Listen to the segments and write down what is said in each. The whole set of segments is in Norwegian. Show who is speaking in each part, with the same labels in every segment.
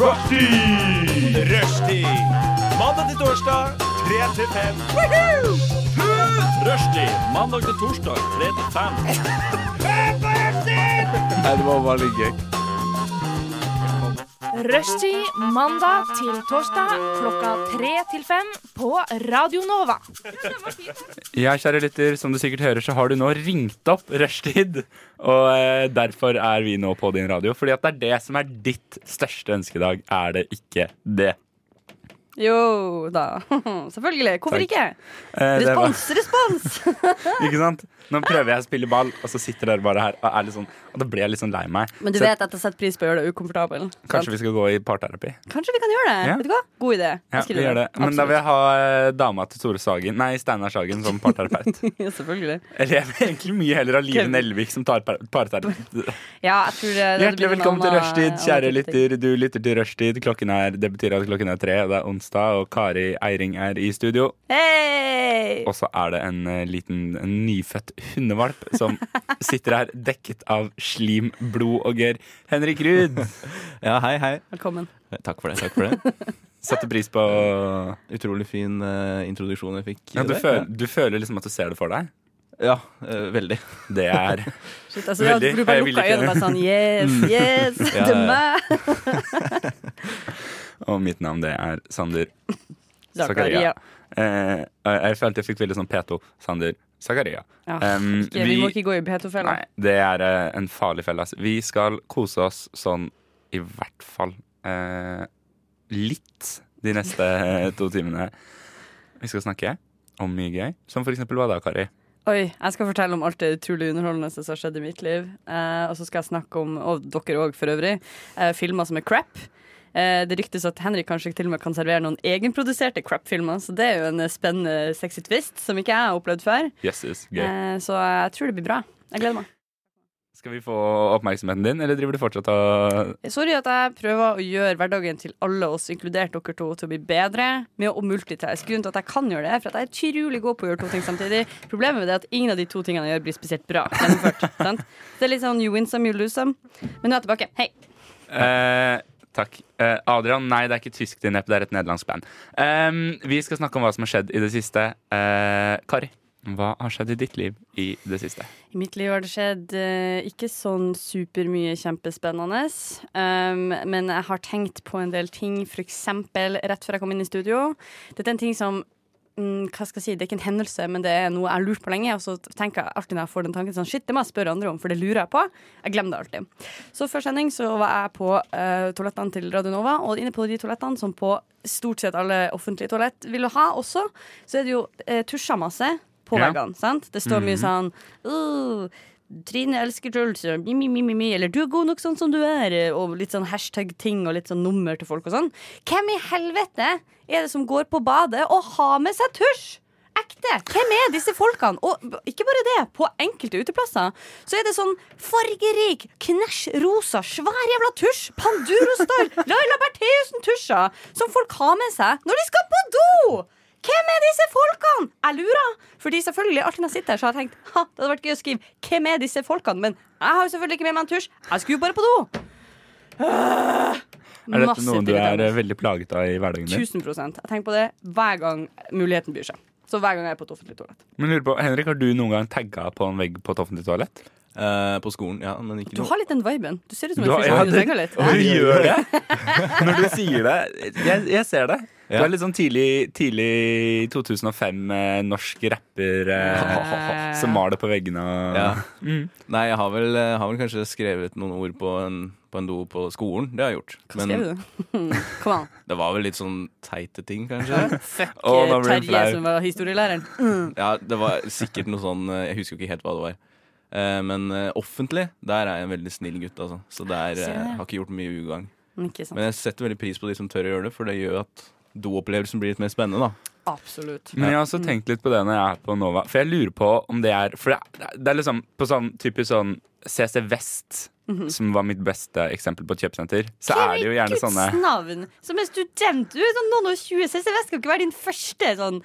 Speaker 1: Rushtid! Rushtid. Mandag til torsdag, 3 til 5. Rushtid. Mandag til torsdag, 3 til 5.
Speaker 2: Nei, det var veldig gøy.
Speaker 3: Rushtid mandag til torsdag klokka tre til fem på Radio Nova.
Speaker 2: Ja, kjære lytter, som du sikkert hører, så har du nå ringt opp rushtid. Og eh, derfor er vi nå på din radio. Fordi at det er det som er ditt største ønskedag, er det ikke det.
Speaker 4: Jo da. Selvfølgelig. Hvorfor
Speaker 2: Takk.
Speaker 4: ikke?
Speaker 2: Eh, det var-
Speaker 4: Respons, respons!
Speaker 2: ikke sant? Nå prøver jeg å spille ball, og så sitter dere bare her og er litt sånn Og da blir jeg litt sånn lei meg.
Speaker 4: Men du
Speaker 2: Så
Speaker 4: vet at jeg setter pris på å gjøre deg ukomfortabel. sant?
Speaker 2: kanskje vi skal gå i parterapi?
Speaker 4: Kanskje vi kan gjøre det?
Speaker 2: Ja.
Speaker 4: Vet du hva? God idé. Jeg
Speaker 2: Ja, vi
Speaker 4: skriver
Speaker 2: gjør det. Men da vil jeg ha eh, dama til Tore Sagen, nei, Steinar Sagen som parterapeut.
Speaker 4: Absolutt. Ja, Selvfølgelig.
Speaker 2: Eller jeg vil egentlig mye heller ha Live
Speaker 4: Kevin.
Speaker 2: Nelvik som tar par- parterapeut.
Speaker 4: Ja, jeg tror eh, det, det
Speaker 2: Hjertelig
Speaker 4: blir en
Speaker 2: velkommen til
Speaker 4: annen-
Speaker 2: Rushtid, kjære
Speaker 4: annen type ting.
Speaker 2: lytter. Du lytter til Rushtid. Klokken er, det betyr at klokken er tre, og det er onsdag, og Kari Eiring er i studio.
Speaker 4: Hei!
Speaker 2: Og så er det en eh, liten en nyfødt hundevalp som sitter her dekket av slim, blod og gørr. Henrik Ruud
Speaker 5: Ja, hei, hei.
Speaker 4: Velkommen.
Speaker 5: Takk for det. takk for det
Speaker 2: satte pris på
Speaker 5: Utrolig fin eh, introduksjon jeg fikk.
Speaker 2: ja, du,
Speaker 5: der.
Speaker 2: føler, du føler liksom at du ser det for deg?
Speaker 5: Ja, eh, veldig.
Speaker 2: Det er
Speaker 4: Shit, altså, jeg,
Speaker 2: Veldig.
Speaker 4: du bare
Speaker 2: Jeg vil
Speaker 4: lukka
Speaker 2: ikke. Mm.
Speaker 4: øynene og bare sånn Yes, yes,
Speaker 5: Ja,
Speaker 4: det er
Speaker 5: ja.
Speaker 4: meg!
Speaker 2: Og mitt navn, det er Sander Zakaria.
Speaker 4: Zakaria.
Speaker 2: Eh, jeg følte jeg fikk veldig sånn P2. Sander Zakaria.
Speaker 4: Ja,
Speaker 2: Em,
Speaker 4: ikke- vi må ikke gå i Beto-fella.
Speaker 2: Nei, det er eh, en farlig felle. ass. Vi skal kose oss sånn i hvert fall eh, litt de neste eh, to timene. Vi skal snakke om mye gøy, som for eksempel hva da, Kari?
Speaker 4: Oi, jeg skal fortelle om alt det utrolig underholdende som har skjedd i mitt liv. Eh, og så skal jeg snakke om, og dere òg for øvrig, eh, filmer som er crap. Eh, det ryktes at Henrik kanskje til og med kan servere noen egenproduserte crap-filmer, så det er jo en eh, spennende sexy twist som ikke jeg har opplevd før.
Speaker 2: Jøsses, gøy.
Speaker 4: Eh, så jeg tror det blir bra. Jeg gleder meg.
Speaker 2: Skal vi få oppmerksomheten din, eller driver du fortsatt og
Speaker 4: Sorry at jeg prøver å gjøre hverdagen til alle oss, inkludert dere to, til å bli bedre med å multitaske. Grunnen til at jeg kan gjøre det, er for at jeg er utrolig god på å gjøre to ting samtidig. Problemet med det er at ingen av de to tingene jeg gjør, blir spesielt bra gjennomført. sant? Så det er litt sånn you win some, you lose some. Men nå er jeg tilbake. Hei.
Speaker 2: Eh, Takk. Eh, Adrian, nei, det er ikke tysk dinepp, det er et nederlandsk band. Em, vi skal snakke om hva som har skjedd i det siste. Eh, Kari, hva har skjedd i ditt liv i det siste?
Speaker 4: I mitt liv har det skjedd eh, ikke sånn supermye kjempespennende, um, men jeg har tenkt på en del ting, f.eks. rett før jeg kom inn i studio. Dette er en ting som mm, hva skal jeg si, Det er ikke en hendelse, men det er noe jeg har lurt på lenge. Og så tenker jeg alltid når jeg får den tanken sånn, shit, det må jeg spørre andre om, for det lurer jeg på. Jeg glemmer det alltid. Så før sending så var jeg på eh, toalettene til Radio Nova, og inne på de toalettene som på stort sett alle offentlige toalett vil ha også, så er det jo uh, tusja masse på
Speaker 2: Ja.
Speaker 4: veggene. sant? Det står mye sånn «Åh, Trine elsker Trulser, mi, mi, mi, mi, mi, eller 'du er god nok sånn som du er', og litt sånn hashtag-ting og litt sånn nummer til folk og sånn. Hvem i helvete er det som går på badet og har med seg tusj? Ekte! Hvem er disse folkene? Og b- ikke bare det, på enkelte uteplasser så er det sånn fargerik, knæsj rosa, svær jævla tusj, Panduro-style, Laila Bertheussen-tusjer som folk har med seg når de skal på do! Hvem er disse folkene? Jeg lurer. Fordi selvfølgelig, alltid når jeg sitter her, så har jeg tenkt ha, det hadde vært gøy å skrive 'Hvem er disse folkene?' Men jeg har jo selvfølgelig ikke med meg en tusj. Jeg skulle jo bare på do.
Speaker 2: Er dette
Speaker 4: Massivt
Speaker 2: noe du er
Speaker 4: irriterende.
Speaker 2: eh, veldig plaget av i hverdagen din?
Speaker 4: 1000 Jeg tenker på det hver gang muligheten byr seg. Så hver gang jeg er på et offentlig toalett.
Speaker 2: Men lurer på, Henrik, har du noen gang tagga på en vegg på et offentlig toalett?
Speaker 5: Eh, på skolen, ja, men ikke
Speaker 4: Du har litt den viben. Du ser ut som
Speaker 2: Du
Speaker 4: en
Speaker 2: har-
Speaker 4: fyr som
Speaker 2: ja,
Speaker 4: har tenker litt.
Speaker 2: Og du gjør det! Når du sier det. Jeg, jeg ser det. Du
Speaker 5: Ja.
Speaker 2: er litt sånn tidlig, tidlig 2005 eh, norsk rapper eh,
Speaker 4: Eh,
Speaker 2: som maler på veggene og
Speaker 5: Ja. Nei, jeg har vel, eh, har vel kanskje skrevet noen ord på en, på en do på skolen. Det har jeg gjort.
Speaker 4: Hva skrev du? Kom an.
Speaker 5: det var vel litt sånn teite ting, kanskje.
Speaker 4: Fuck
Speaker 2: Å, nå ble jeg
Speaker 4: Terje,
Speaker 2: flau.
Speaker 4: som var historielæreren.
Speaker 5: Ja, det var sikkert noe sånn eh, Jeg husker jo ikke helt hva det var. Eh, Men eh, offentlig, der er jeg en veldig snill gutt, altså. Så der
Speaker 4: Sier
Speaker 5: eh,
Speaker 4: det.
Speaker 5: har ikke gjort mye ugagn.
Speaker 4: Ikke sant.
Speaker 5: Men jeg setter veldig pris på de som tør å gjøre det, for det gjør at doopplevelsen blir litt mer spennende, da.
Speaker 4: Absolutt.
Speaker 2: Men jeg har også tenkt litt på det når jeg er på Nova. For jeg lurer på om det er For det er, det er liksom på sånn typisk sånn CC Vest,
Speaker 4: Mhm.
Speaker 2: som var mitt beste eksempel på et kjøpesenter, så er det jo gjerne
Speaker 4: Guds
Speaker 2: sånne
Speaker 4: navn! Som er student! Du er sånn noen og tjue. CCVS skal ikke være din første sånn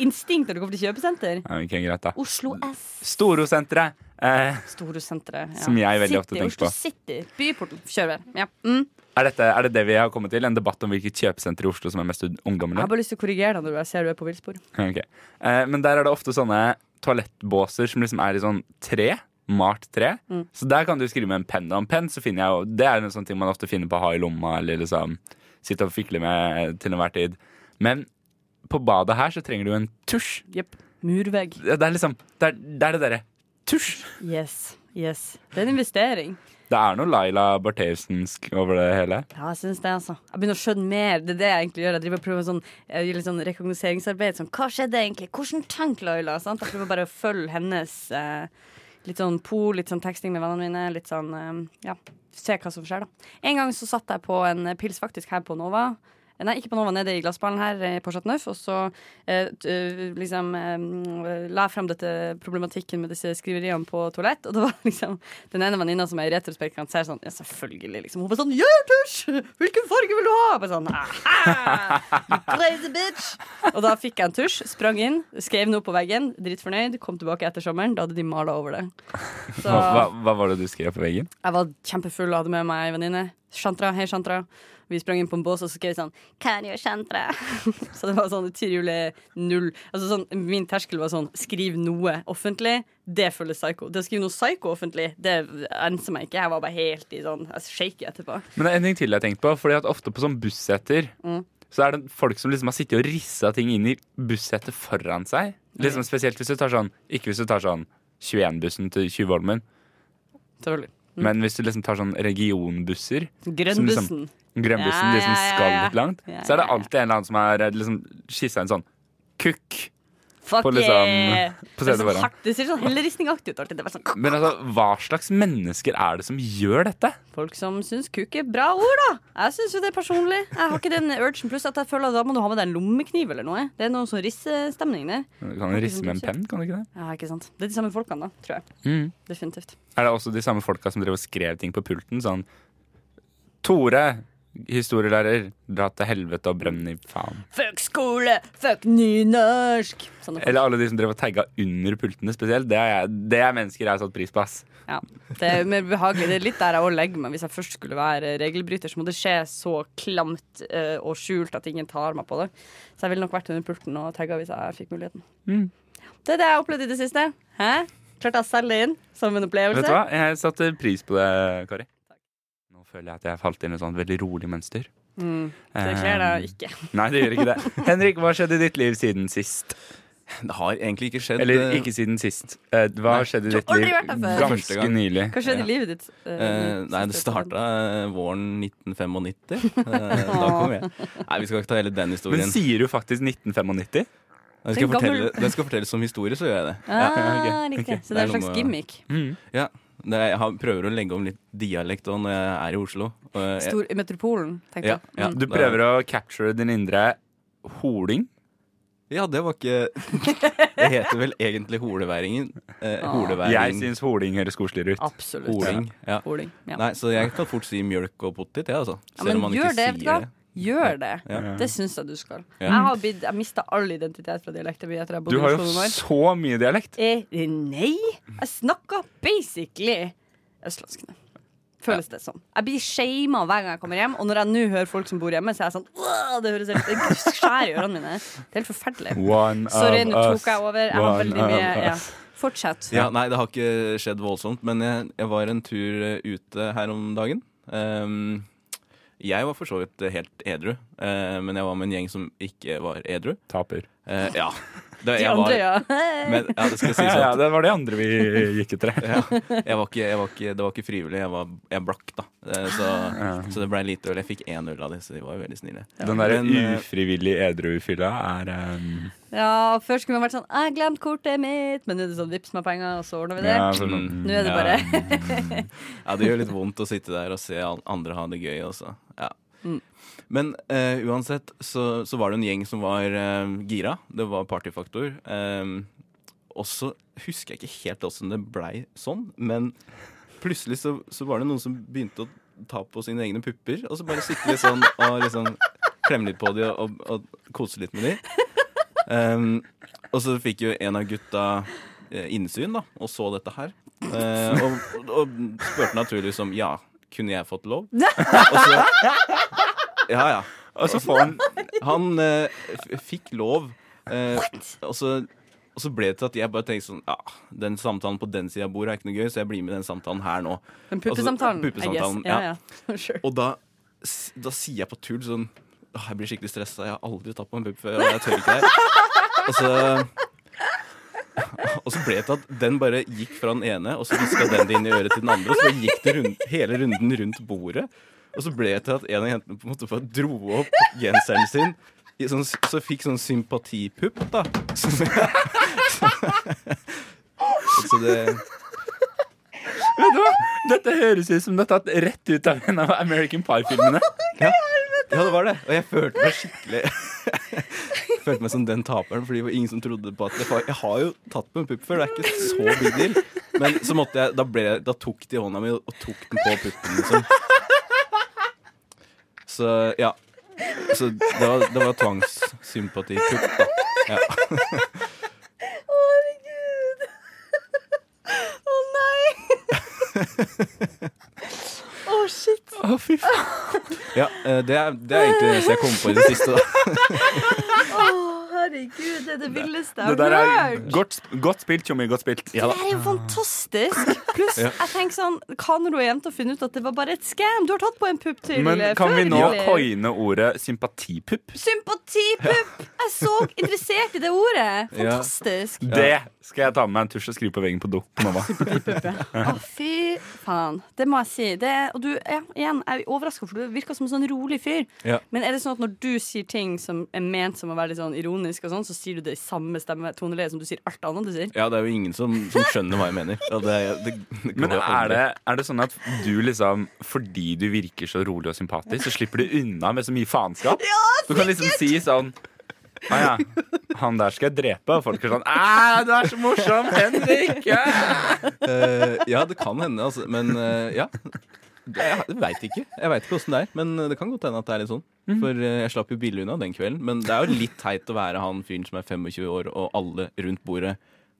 Speaker 4: instinkt når du kommer til kjøpesenter.
Speaker 2: ja, ok, greit da
Speaker 4: Oslo S.
Speaker 2: Storosenteret. Eh,
Speaker 4: Storosenteret.
Speaker 2: Som jeg veldig ofte tenker på.
Speaker 4: Oslo City. Byporten. Kjør vel. Ja. Mm.
Speaker 2: Er, dette, er det det vi har kommet til? En debatt om hvilket kjøpesenter i Oslo som er mest
Speaker 4: Jeg
Speaker 2: ungdommelig?
Speaker 4: har bare lyst til å korrigere deg når jeg ser du er på villspor.
Speaker 2: Ok. Eh, men der er det ofte sånne toalettbåser som liksom er i sånn tre. Malt tre. Så der kan du skrive med en penn. Og en penn så finner jeg jo Det er en sånn ting man ofte finner på å ha i lomma, eller liksom sitte og fikle med eh, til enhver tid. Men på badet her så trenger du en tusj.
Speaker 4: Jepp. Murvegg.
Speaker 2: Det det er liksom Det er det, er det derre tusj.
Speaker 4: Yes. Yes. Det er en investering.
Speaker 2: Det er noe Laila Bartheusensk over det hele.
Speaker 4: Ja, jeg syns det, altså. Jeg begynner å skjønne mer. Det er det jeg egentlig gjør. Jeg driver og prøver sånn, jeg gjør litt sånn rekognoseringsarbeid. Sånn, hva skjedde egentlig? Hvordan tenk Laila? Sant? Jeg prøver bare å følge hennes eh, litt sånn pol, litt sånn teksting med vennene mine. Litt sånn, eh, ja, se hva som skjer, da. En gang så satt jeg på en eh, pils faktisk her på Nova. Nei, ikke på Nova, nede i glassballen her eh, på Chateauneuf. Og så eh, t- eh, liksom eh, la jeg frem dette problematikken med disse skriveriene på toalett. Og det var liksom den ene venninna som jeg i retrospekt kan se sånn Ja, selvfølgelig, liksom. Hun bare sånn Ja, tusj! Hvilken farge vil du ha? Jeg Bare sånn «Aha! You crazy bitch! Og da fikk jeg en tusj, sprang inn, skrev noe på veggen, dritfornøyd, kom tilbake etter sommeren. Da hadde de mala over det. Så
Speaker 2: Hva, hva var det du skrev på veggen?
Speaker 4: jeg var kjempefull og hadde med meg ei venninne. Shantra, hei Shantra. Vi sprang inn på en bås og så skrev vi sånn Kari og Shantra. så det var sånn tidlig null. Altså sånn, min terskel var sånn skriv noe offentlig. Det føles psycho. Det å skrive noe psycho offentlig, det enser meg ikke. Jeg var bare helt i sånn Jeg shaker etterpå.
Speaker 2: Men det er en ting til jeg har tenkt på. Fordi at ofte på sånn busseter
Speaker 4: Mm.
Speaker 2: Så er det folk som liksom har sittet og rissa ting inn i bussetet foran seg. Liksom Spesielt hvis du tar sånn Ikke hvis du tar sånn 21-bussen til Tjuvholmen,
Speaker 4: Selvfølgelig.
Speaker 2: men hvis du liksom tar sånn regionbusser. som
Speaker 4: Grønnbussen.
Speaker 2: Liksom, grønnbussen,
Speaker 4: Ja,
Speaker 2: de som
Speaker 4: ja, ja,
Speaker 2: skal
Speaker 4: ja.
Speaker 2: litt langt.
Speaker 4: Ja,
Speaker 2: Så er det
Speaker 4: ja, ja.
Speaker 2: alltid en eller annen som har eh, liksom skissa en sånn kukk.
Speaker 4: Fuck
Speaker 2: på liksom-
Speaker 4: yeah!
Speaker 2: på stedet
Speaker 4: det, er sånn
Speaker 2: foran.
Speaker 4: hardt, det ser sånn helleristingaktig ut alltid. Det er bare sånn
Speaker 2: Men altså, hva slags mennesker er det som gjør dette?
Speaker 4: Folk som syns kuk er bra ord, da. Jeg syns jo det personlig. Jeg har ikke den urgen. Pluss at jeg føler at da må du ha med deg en lommekniv eller noe. Det er noe sånn rissestemning der.
Speaker 2: Du kan jo risse med en penn, kan du ikke det?
Speaker 4: Ja, ikke sant. Det er de samme folkene, da, tror jeg.
Speaker 2: Mm.
Speaker 4: Definitivt.
Speaker 2: Er det også de samme folka som drev og skrev ting på pulten? Sånn Tore, historielærer, dra til helvete og brønn i faen.
Speaker 4: Fuck skole! Fuck nynorsk! Sånn Sånne folk.
Speaker 2: Eller alle de som drev og tagga under pultene spesielt. Det er, jeg, det er mennesker jeg har satt pris på, ass.
Speaker 4: Ja. Det er mer behagelig. Det er litt der jeg òg legger meg. Hvis jeg først skulle være regelbryter, så må det skje så klamt eh, og skjult at ingen tar meg på det. Så jeg ville nok vært under pulten og tagga hvis jeg fikk muligheten.
Speaker 5: Mm.
Speaker 4: Det er det jeg opplevde i det siste. Hæ? Klarte jeg å selge det inn som en opplevelse?
Speaker 2: Vet du hva? Jeg satte pris på det, Kari. Nå føler jeg at jeg falt inn i et sånt veldig rolig mønster.
Speaker 4: Mm,
Speaker 2: Eh,
Speaker 4: Det skjer da ikke.
Speaker 2: Nei, det gjør ikke det. Henrik, hva skjedde i ditt liv siden sist?
Speaker 5: Det har egentlig ikke skjedd.
Speaker 2: Eller
Speaker 5: eh,
Speaker 2: ikke siden sist. Eh, Hva
Speaker 5: Nei.
Speaker 2: skjedde i
Speaker 4: Du har
Speaker 2: ditt
Speaker 4: aldri
Speaker 2: liv
Speaker 4: vært her før.
Speaker 5: Første
Speaker 2: ganske
Speaker 5: gang.
Speaker 2: nylig?
Speaker 4: Hva skjedde
Speaker 5: Ja.
Speaker 4: i livet ditt? eh,
Speaker 5: Eh, nei, det
Speaker 4: siste
Speaker 5: starta eh, våren 1995. Eh, da kom jeg. Nei, vi skal ikke ta hele den historien.
Speaker 2: Men sier du faktisk 1995?
Speaker 5: den, skal
Speaker 4: Den gammel-
Speaker 5: fortelle, den skal fortelles som historie, så gjør jeg det.
Speaker 4: Ah, riktig. Så det er en
Speaker 5: Det er
Speaker 4: slags
Speaker 5: noe-
Speaker 4: gimmick.
Speaker 5: Ja, det er, Jeg har, prøver å legge om litt dialekt også når jeg er i Oslo. Og jeg-
Speaker 4: Stor, i metropolen, tenkte
Speaker 5: ja,
Speaker 4: jeg. Mm.
Speaker 5: ja,
Speaker 2: Du prøver å capture din indre holing?
Speaker 5: Ja, det var ikke Det heter vel egentlig holeværingen. Eh,
Speaker 4: Ah.
Speaker 5: holeværing.
Speaker 2: Jeg syns holing høres koseligere ut.
Speaker 4: Absolutt.
Speaker 5: Holing. Ja.
Speaker 4: Holing, ja.
Speaker 5: Nei, så jeg kan fort si mjølk og potet, jeg, altså.
Speaker 4: Ja,
Speaker 5: Selv
Speaker 4: men
Speaker 5: om man
Speaker 4: gjør det,
Speaker 5: ikke sier
Speaker 4: vet du hva.
Speaker 5: det.
Speaker 4: Gjør det.
Speaker 5: Ja.
Speaker 4: Det syns jeg du skal.
Speaker 5: Ja.
Speaker 4: Jeg har blitt, jeg mista all identitet fra dialekten min etter jeg
Speaker 2: Du
Speaker 4: bodde i
Speaker 2: har
Speaker 4: Oslo
Speaker 2: jo
Speaker 4: noen år.
Speaker 2: så mye dialekt.
Speaker 4: Eh, nei, jeg snakka basically østlandsk nå. Føles det som. Jeg blir shama hver gang jeg kommer hjem. Og når jeg nå hører folk som bor hjemme, så er jeg sånn Åh, Det høres helt det skjærer i ørene mine. Det er helt forferdelig.
Speaker 2: One
Speaker 4: Sorry, nå
Speaker 2: of us.
Speaker 4: tok jeg over. Jeg har
Speaker 2: One
Speaker 4: veldig mye
Speaker 2: of
Speaker 4: ja.
Speaker 2: us.
Speaker 4: Fortsett.
Speaker 5: Ja, nei, det har ikke skjedd voldsomt, men jeg, jeg var en tur eh, ute her om dagen. Ehm, jeg var for så vidt eh, helt edru, eh, men jeg var med en gjeng som ikke var edru.
Speaker 2: Taper.
Speaker 5: Eh, ja. Det,
Speaker 4: De
Speaker 5: jeg var,
Speaker 4: andre, ja.
Speaker 5: Men, ja, det skal sies
Speaker 2: Ja, ja,
Speaker 5: at
Speaker 2: det var de andre vi gikk etter.
Speaker 5: ja, jeg var ikke, jeg var ikke, det var ikke frivillig, jeg var jeg blakk, da. Eh, Så, så det blei lite øl. Jeg fikk én øl av de, så de var jo veldig snille.
Speaker 2: Den derre
Speaker 5: Men, eh,
Speaker 2: ufrivillig edru-fylla er ehm,
Speaker 4: Ja, Før skulle man vært sånn 'Jeg glemte kortet mitt', men nå er det sånn 'vips meg penger, og så ordner vi det'. Mm,
Speaker 2: ja, for noen-
Speaker 4: Nå er det bare
Speaker 5: Ja, det gjør litt vondt å sitte der og se an- andre ha det gøy også. Ja. Men eh, uansett så, så var det en gjeng som var eh, gira. Det var partyfaktor. Eh, og så husker jeg ikke helt åssen det blei sånn, men plutselig så, så var det noen som begynte å ta på sine egne pupper, og så bare sitte litt sånn og liksom klemme litt på de og, og, og kose litt med de. Ehm, og så fikk jo en av gutta eh, innsyn da, og så dette her. Eh, og, og spurte naturligvis om ja, Kunne jeg fått lov? Og så, ja, ja.
Speaker 2: Og så får han
Speaker 5: Han eh, f- fikk lov. eh, og, så, og så ble det til at jeg bare tenkte sånn Ja, den samtalen på den sida av bordet er ikke noe gøy, så jeg blir med i den samtalen her nå.
Speaker 4: Men puppesamtalen,
Speaker 5: Altså, puppesamtalen,
Speaker 4: I guess. Ja, ja. Sure.
Speaker 5: Og da, s- da sier jeg på tull sånn «Åh, Jeg blir skikkelig stressa, jeg har aldri tatt på en pupp før, og jeg tør ikke det her. Og så og så ble det til at den bare gikk fra den ene, og så hviska den det inn i øret til den andre. Og så bare gikk det rund, hele runden rundt bordet. Og så ble det til at en av jentene på en måte bare dro opp genseren sin. I sånn, så fikk sånn sympatipupp, da. Så, så det
Speaker 2: Vet du hva? Dette høres ut som det er tatt rett ut av en av American Pie-filmene.
Speaker 5: Ja, det var det. Og jeg følte meg skikkelig Følte meg som den taperen, Fordi det var ingen som trodde på at jeg, var- jeg har jo tatt på en pupp før, det er ikke så big deal. Men så måtte jeg Da, ble, da tok de hånda mi og og tok den på puppen, liksom. Så ja. Så det var, det var tvangssympatipupp, da. Ja.
Speaker 4: Herregud. Å nei. Å shit.
Speaker 2: Å, fy faen.
Speaker 5: ja eh, det, er, det er egentlig det eneste jeg kom på i det siste. Da.
Speaker 4: Å herregud, det er det villeste
Speaker 2: Det
Speaker 4: jeg
Speaker 2: der
Speaker 4: har
Speaker 2: er
Speaker 4: hørt.
Speaker 2: godt, godt spilt, Tjommi. Godt spilt.
Speaker 5: Ja, da.
Speaker 4: Det her er jo fantastisk. Pluss,
Speaker 5: Ja.
Speaker 4: jeg tenker sånn Hva når du er jente og finner ut at det var bare et scam? Du har tatt på en pupp til
Speaker 2: Men
Speaker 4: eh,
Speaker 2: kan
Speaker 4: før,
Speaker 2: vi nå
Speaker 4: eller?
Speaker 2: coine ordet sympatipupp?
Speaker 4: Sympatipupp! Jeg så interessert i det ordet. Fantastisk.
Speaker 2: Det skal jeg ta med meg en tusj og skrive på veggen på do. Mamma.
Speaker 4: Å, fy faen. Det må jeg si. Det, og du, ja, igjen, jeg er overraska, for du virker som en sånn rolig fyr.
Speaker 5: Ja.
Speaker 4: Men er det sånn at når du sier ting som er ment som å være litt sånn ironisk, og sånn, så sier du det i samme stemme toneleie som du sier alt annet du sier?
Speaker 5: ja, det er jo ingen som, som skjønner hva jeg mener. Ja, det, det, det går
Speaker 2: Men
Speaker 5: jo aldri.
Speaker 2: er det, er det sånn at du liksom fordi du virker så rolig og sympatisk, så slipper du unna med så mye faenskap? du kan liksom si sånn Å ja, han der skal jeg drepe. Og folk er sånn Æ, du er så morsom, Henrik! æ!»
Speaker 5: Eh, ja, det kan hende, altså. Men eh, ja. Det, jeg veit ikke. Jeg vet ikke åssen det er. Men eh, det kan godt hende at det er litt sånn. For eh, jeg slapp jo billig unna den kvelden. Men det er jo litt teit å være han fyren som er 25 år, og alle rundt bordet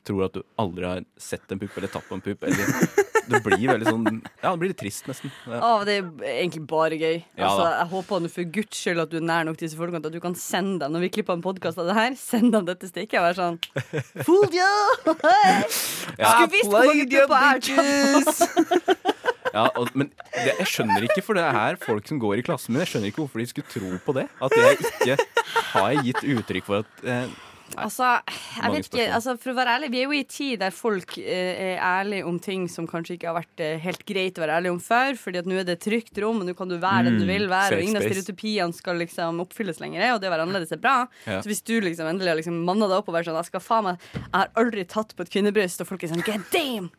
Speaker 5: tror at du aldri har sett en pupp eller tatt på en pupp. Eller det blir veldig sånn Ja, det blir litt trist, nesten. Ja.
Speaker 4: Å, det er egentlig bare gøy.
Speaker 5: Ja,
Speaker 4: altså,
Speaker 5: da.
Speaker 4: jeg håper nå for guds skyld at du er nær nok disse folkene at du kan sende dem når vi klipper en podkast av det her. Send dem dette stikket og være sånn Fooled you! Skulle visst hvor mange pupper jeg har tatt.
Speaker 5: Ja, og, men det, jeg skjønner ikke, for det er folk som går i klassen min. Jeg skjønner ikke hvorfor de skulle tro på det. At jeg ikke har gitt uttrykk for at eh,
Speaker 4: Altså, jeg
Speaker 5: Mange
Speaker 4: vet ikke,
Speaker 5: spørsmål.
Speaker 4: altså, for å være ærlig, vi er jo i en tid der folk eh, er ærlige om ting som kanskje ikke har vært eh, helt greit å være ærlig om før, fordi at nå er det et trygt rom, og nå kan du være den du
Speaker 5: Mm,
Speaker 4: vil være,
Speaker 2: safe
Speaker 4: og ingen av
Speaker 2: space.
Speaker 4: stereotypiene skal liksom oppfylles lenger, og det å være annerledes er bra.
Speaker 5: Ja.
Speaker 4: Så hvis du liksom endelig har liksom manna deg opp og vært sånn, jeg skal faen meg, jeg har aldri tatt på et kvinnebryst, og folk er sånn, god damn!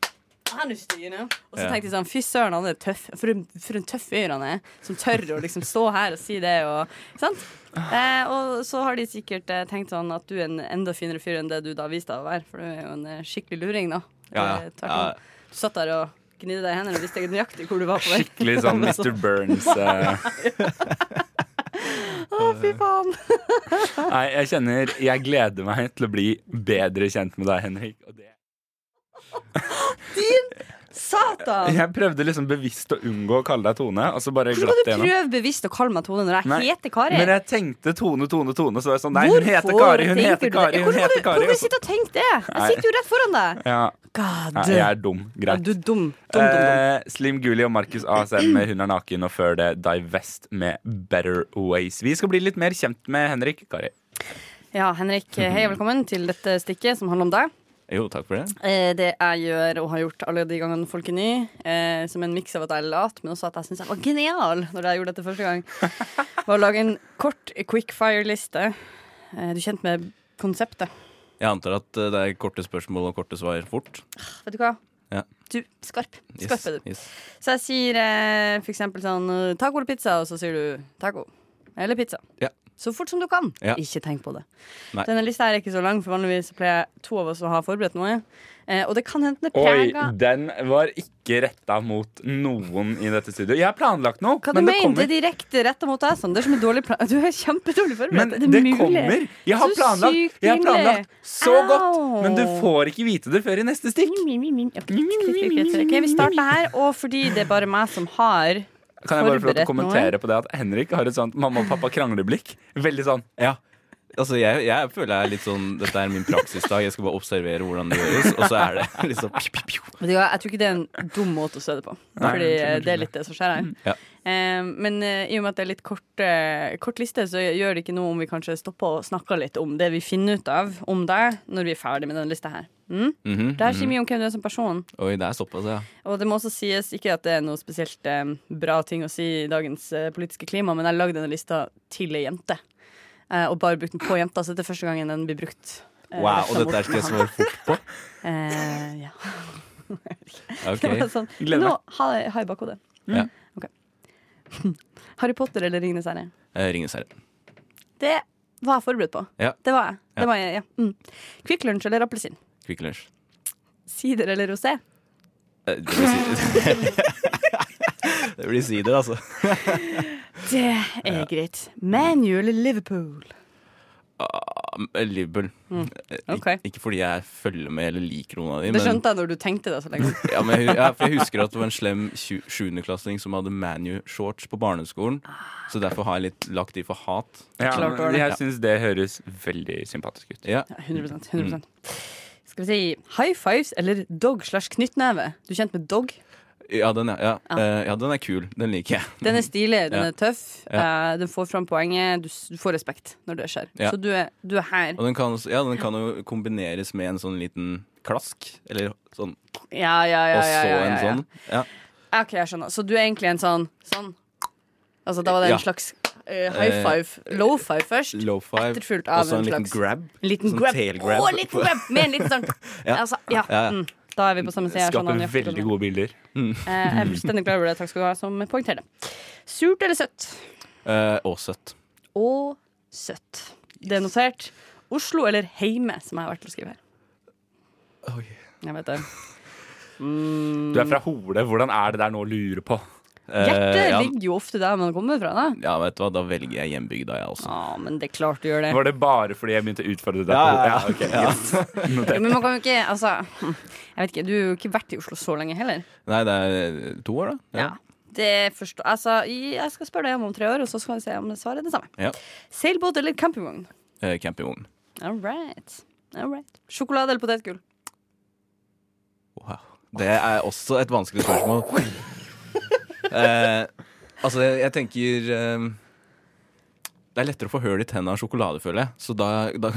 Speaker 4: Han er stygg, you know? Og så
Speaker 5: Ja.
Speaker 4: tenkte jeg sånn, fy søren, han er tøff. For en, for en tøff fyr han er, som tør å liksom stå her og si det. Og, ikke sant? Eh, og så har de sikkert eh, tenkt sånn at du er en enda finere fyr enn det du da viste deg å være. For du er jo en eh, skikkelig luring, da.
Speaker 5: Ja, ja.
Speaker 4: Du, tvert om.
Speaker 5: Ja.
Speaker 4: du satt der og gnidde deg i hendene og visste nøyaktig hvor du var på vei.
Speaker 2: Skikkelig sånn Mr. Burns. eh.
Speaker 4: Å, fy faen!
Speaker 2: Nei, jeg kjenner Jeg gleder meg til å bli bedre kjent med deg, Henrik. Og det
Speaker 4: Din satan!
Speaker 2: Jeg prøvde liksom bevisst å unngå å kalle deg Tone, og så bare
Speaker 4: Skal
Speaker 2: glatt
Speaker 4: du
Speaker 2: det gjennom.
Speaker 4: prøve bevisst å kalle meg Tone når jeg
Speaker 2: Nei,
Speaker 4: heter Kari?
Speaker 2: Men jeg tenkte Tone, Tone, Tone, så var jeg sånn Nei, hun heter
Speaker 4: Hvorfor
Speaker 2: Kari, hun
Speaker 4: tenker du
Speaker 2: heter
Speaker 4: det?
Speaker 2: Kari, hun
Speaker 4: Hvordan kan du-
Speaker 2: heter Kari. altså.
Speaker 4: Hvordan kan
Speaker 2: og
Speaker 4: du
Speaker 2: så-
Speaker 4: sitte og tenke det? Jeg
Speaker 2: Nei.
Speaker 4: sitter jo rett foran deg.
Speaker 2: Ja,
Speaker 4: God.
Speaker 2: nei, jeg er dum.
Speaker 4: Ja,
Speaker 2: Greit.
Speaker 4: du er dum. dum, dum, dum.
Speaker 2: Eh, Slim Guli og Markus ASM med Hun er naken, og før det Divest med Better Ways. Vi skal bli litt mer kjent med Henrik. Kari.
Speaker 4: Ja, Henrik, eh, hei og velkommen til dette stikket som handler om deg.
Speaker 5: Jo, takk for det.
Speaker 4: Eh, Det jeg gjør og har gjort alle de gangene folk er ny, eh, som en miks av at jeg er lat, men også at jeg syns jeg var genial når jeg gjorde dette første gang, var å lage en kort quickfire-liste. Eh, Du er kjent med konseptet.
Speaker 5: Jeg antar at eh, det er korte spørsmål og korte svar fort.
Speaker 4: Vet du hva?
Speaker 5: Ja.
Speaker 4: Du, skarp.
Speaker 5: Yes,
Speaker 4: Skarp er du.
Speaker 5: yes.
Speaker 4: Så jeg sier eh, for eksempel sånn eh, taco eller pizza, og så sier du taco. Eller pizza.
Speaker 5: Ja.
Speaker 4: så fort som du kan.
Speaker 5: Ja.
Speaker 4: Ikke tenk på det.
Speaker 5: Nei.
Speaker 4: Denne lista her er ikke så lang, for vanligvis pleier to av oss å ha forberedt noe. Eh, og det kan hende det
Speaker 2: Oi,
Speaker 4: preger
Speaker 2: den var ikke retta mot noen i dette studioet. Jeg har planlagt noe,
Speaker 4: Hva du
Speaker 2: men det
Speaker 4: mener? Det
Speaker 2: kommer.
Speaker 4: er direkte retta mot deg, Sander, som er dårlig plan... Du er kjempedårlig
Speaker 2: Men
Speaker 4: forberedt. Er
Speaker 2: det,
Speaker 4: mulig?
Speaker 2: kommer. Jeg har
Speaker 4: Så
Speaker 2: planlagt,
Speaker 4: sykt
Speaker 2: jeg har planlagt så
Speaker 4: pinlig.
Speaker 2: godt, men du
Speaker 4: Au.
Speaker 2: får ikke vite det før i neste stikk.
Speaker 4: Mi, mi, mi. Ok, greit, greit, greit, greit. Ok, vi starter her, og fordi det er bare meg som har
Speaker 2: Kan jeg bare få lov til å
Speaker 4: forberedt
Speaker 2: kommentere på det at Henrik har et sånt mamma og pappa krangler-blikk? Veldig sånn.
Speaker 5: Ja. Altså, jeg, jeg føler jeg er litt sånn Dette er min praksisdag. Jeg skal bare observere hvordan det gjøres. Og så er det liksom pju, pju, pju.
Speaker 4: Vet du hva, Jeg tror ikke det er en dum måte å se det på.
Speaker 2: Nei,
Speaker 4: Fordi
Speaker 2: jeg Mm. tror
Speaker 4: eh,
Speaker 2: kanskje
Speaker 4: det er litt det som skjer her.
Speaker 5: Ja.
Speaker 4: Eh, men eh, i og med at det er litt kort, eh, kort liste, så gjør det ikke noe om vi kanskje stopper og snakker litt om det vi finner ut av om deg, når vi er ferdig med denne lista her. Mm?
Speaker 5: Mhm.
Speaker 4: Det her sier mye om hvem du er som person.
Speaker 5: Oi, det er såpass, ja.
Speaker 4: Og det må også sies, ikke at det er noe spesielt eh, bra ting å si i dagens eh, politiske klima, men jeg lagde denne lista til ei jente. Eh, og bare brukt den på jenta, så dette er første gangen den blir brukt. eh,
Speaker 5: Wow,
Speaker 4: rettet
Speaker 5: og
Speaker 4: mot
Speaker 5: dette er ikke
Speaker 4: meg.
Speaker 5: så fort på.
Speaker 4: Eh, ja.
Speaker 5: Ok. Mm.
Speaker 4: Det var sånn,
Speaker 2: Gleder meg.
Speaker 4: nå har jeg- har jeg bakhodet.
Speaker 5: Ja.
Speaker 4: Ok. Harry Potter eller Ringenes herre?
Speaker 5: Eh, Ringenes herre.
Speaker 4: Det var jeg forberedt på.
Speaker 5: Ja.
Speaker 4: Det var jeg.
Speaker 5: Ja.
Speaker 4: Det var jeg ja. mm. Kvikk Lunsj eller appelsin?
Speaker 5: Quick Lunch.
Speaker 4: Sider eller rosé?
Speaker 5: Eh, Det blir sider. det blir sider, altså.
Speaker 4: Det er greit. ManU eller Liverpool?
Speaker 5: Eh, Liverpool. Eh,
Speaker 4: Mm, ok.
Speaker 5: Ikke fordi jeg følger med eller liker noen av de,
Speaker 4: Det
Speaker 5: men
Speaker 4: skjønte jeg når du tenkte det så lenge.
Speaker 5: Ja, men jeg, hu- ja, for jeg husker at det var en slem tju- sjuendeklassing som hadde ManU-shorts på barneskolen.
Speaker 4: Ah.
Speaker 5: Så derfor har jeg litt lagt de for hat.
Speaker 2: Ja,
Speaker 4: Klart var
Speaker 2: men
Speaker 4: det.
Speaker 2: jeg syns det høres veldig sympatisk ut.
Speaker 5: Ja.
Speaker 4: Ja, 100, 100%.
Speaker 5: Mm.
Speaker 4: Skal vi si high fives eller dog slash knyttneve? Du er kjent med dog?
Speaker 5: Ja, den er, ja.
Speaker 4: Ah.
Speaker 5: Eh, ja, den er kul. Den liker jeg.
Speaker 4: Den er stilig, den
Speaker 5: Ja.
Speaker 4: er tøff, eh, den får fram poenget, du, s- du får respekt når det skjer.
Speaker 5: Ja.
Speaker 4: Så du er, du er her.
Speaker 5: Og den kan, også- ja, den kan jo kombineres med en sånn liten klask. Eller sånn,
Speaker 4: Ja, ja, ja. ja,
Speaker 5: og så
Speaker 4: ja,
Speaker 5: en
Speaker 4: ja, ja.
Speaker 5: sånn. Ja.
Speaker 4: Ja, Ok, jeg skjønner. Så du er egentlig en sånn sånn Altså, da var det en
Speaker 5: Ja.
Speaker 4: slags eh, high five. Low five først.
Speaker 5: Low five.
Speaker 4: Etterfulgt
Speaker 5: Og
Speaker 4: av
Speaker 5: så en
Speaker 4: en
Speaker 5: liten
Speaker 4: slags-
Speaker 5: grab.
Speaker 4: En liten
Speaker 5: sånn
Speaker 4: grab.
Speaker 5: tailgrab.
Speaker 4: Å, en liten grab! Med en liten sånn
Speaker 5: Ja.
Speaker 4: Altså, ja.
Speaker 5: Ja, ja.
Speaker 4: Mm. Da er sånn vi på samme side. jeg skjønner
Speaker 2: Skaper
Speaker 4: nøyaktig hva du
Speaker 2: veldig
Speaker 4: mener.
Speaker 2: gode bilder.
Speaker 4: Eh, Jeg er fullstendig klar over det. Takk skal du ha som poengterte. Surt eller søtt?
Speaker 5: Eh, og søtt.
Speaker 4: Og søtt. Det er notert. Oslo eller Heime, som jeg har vært til å skrive her.
Speaker 5: Oi.
Speaker 4: Jeg vet det. Mm,
Speaker 2: Du er fra Hole, hvordan er det der nå å lure på?
Speaker 5: Eh,
Speaker 4: Hjertet
Speaker 5: ja,
Speaker 4: ligger jo ofte der man kommer fra, da.
Speaker 5: ja, vet du hva, da velger jeg hjembygda, jeg også.
Speaker 4: Ja, men det er klart du gjør det.
Speaker 2: Var det bare fordi jeg begynte å utfordre deg?
Speaker 5: Ja, ja, ja,
Speaker 2: på Hole? ok, greit.
Speaker 4: Jo,
Speaker 2: Notert.
Speaker 4: men man kan jo ikke Altså, jeg vet ikke. Du har jo ikke vært i Oslo så lenge heller.
Speaker 5: Nei, det er to år, da.
Speaker 4: Ja. Det forstår Altså, jeg skal spørre deg om om tre år, og så skal vi se om svaret er det samme.
Speaker 5: Ja.
Speaker 4: Seilbåt eller campingvogn?
Speaker 5: Eh, campingvogn.
Speaker 4: All right. All right. Sjokolade eller potetgull?
Speaker 5: Wow. Det er også et vanskelig spørsmål. eh, altså, jeg, jeg tenker eh, Det er lettere å få høl i tenna av sjokolade, føler jeg. Så da, da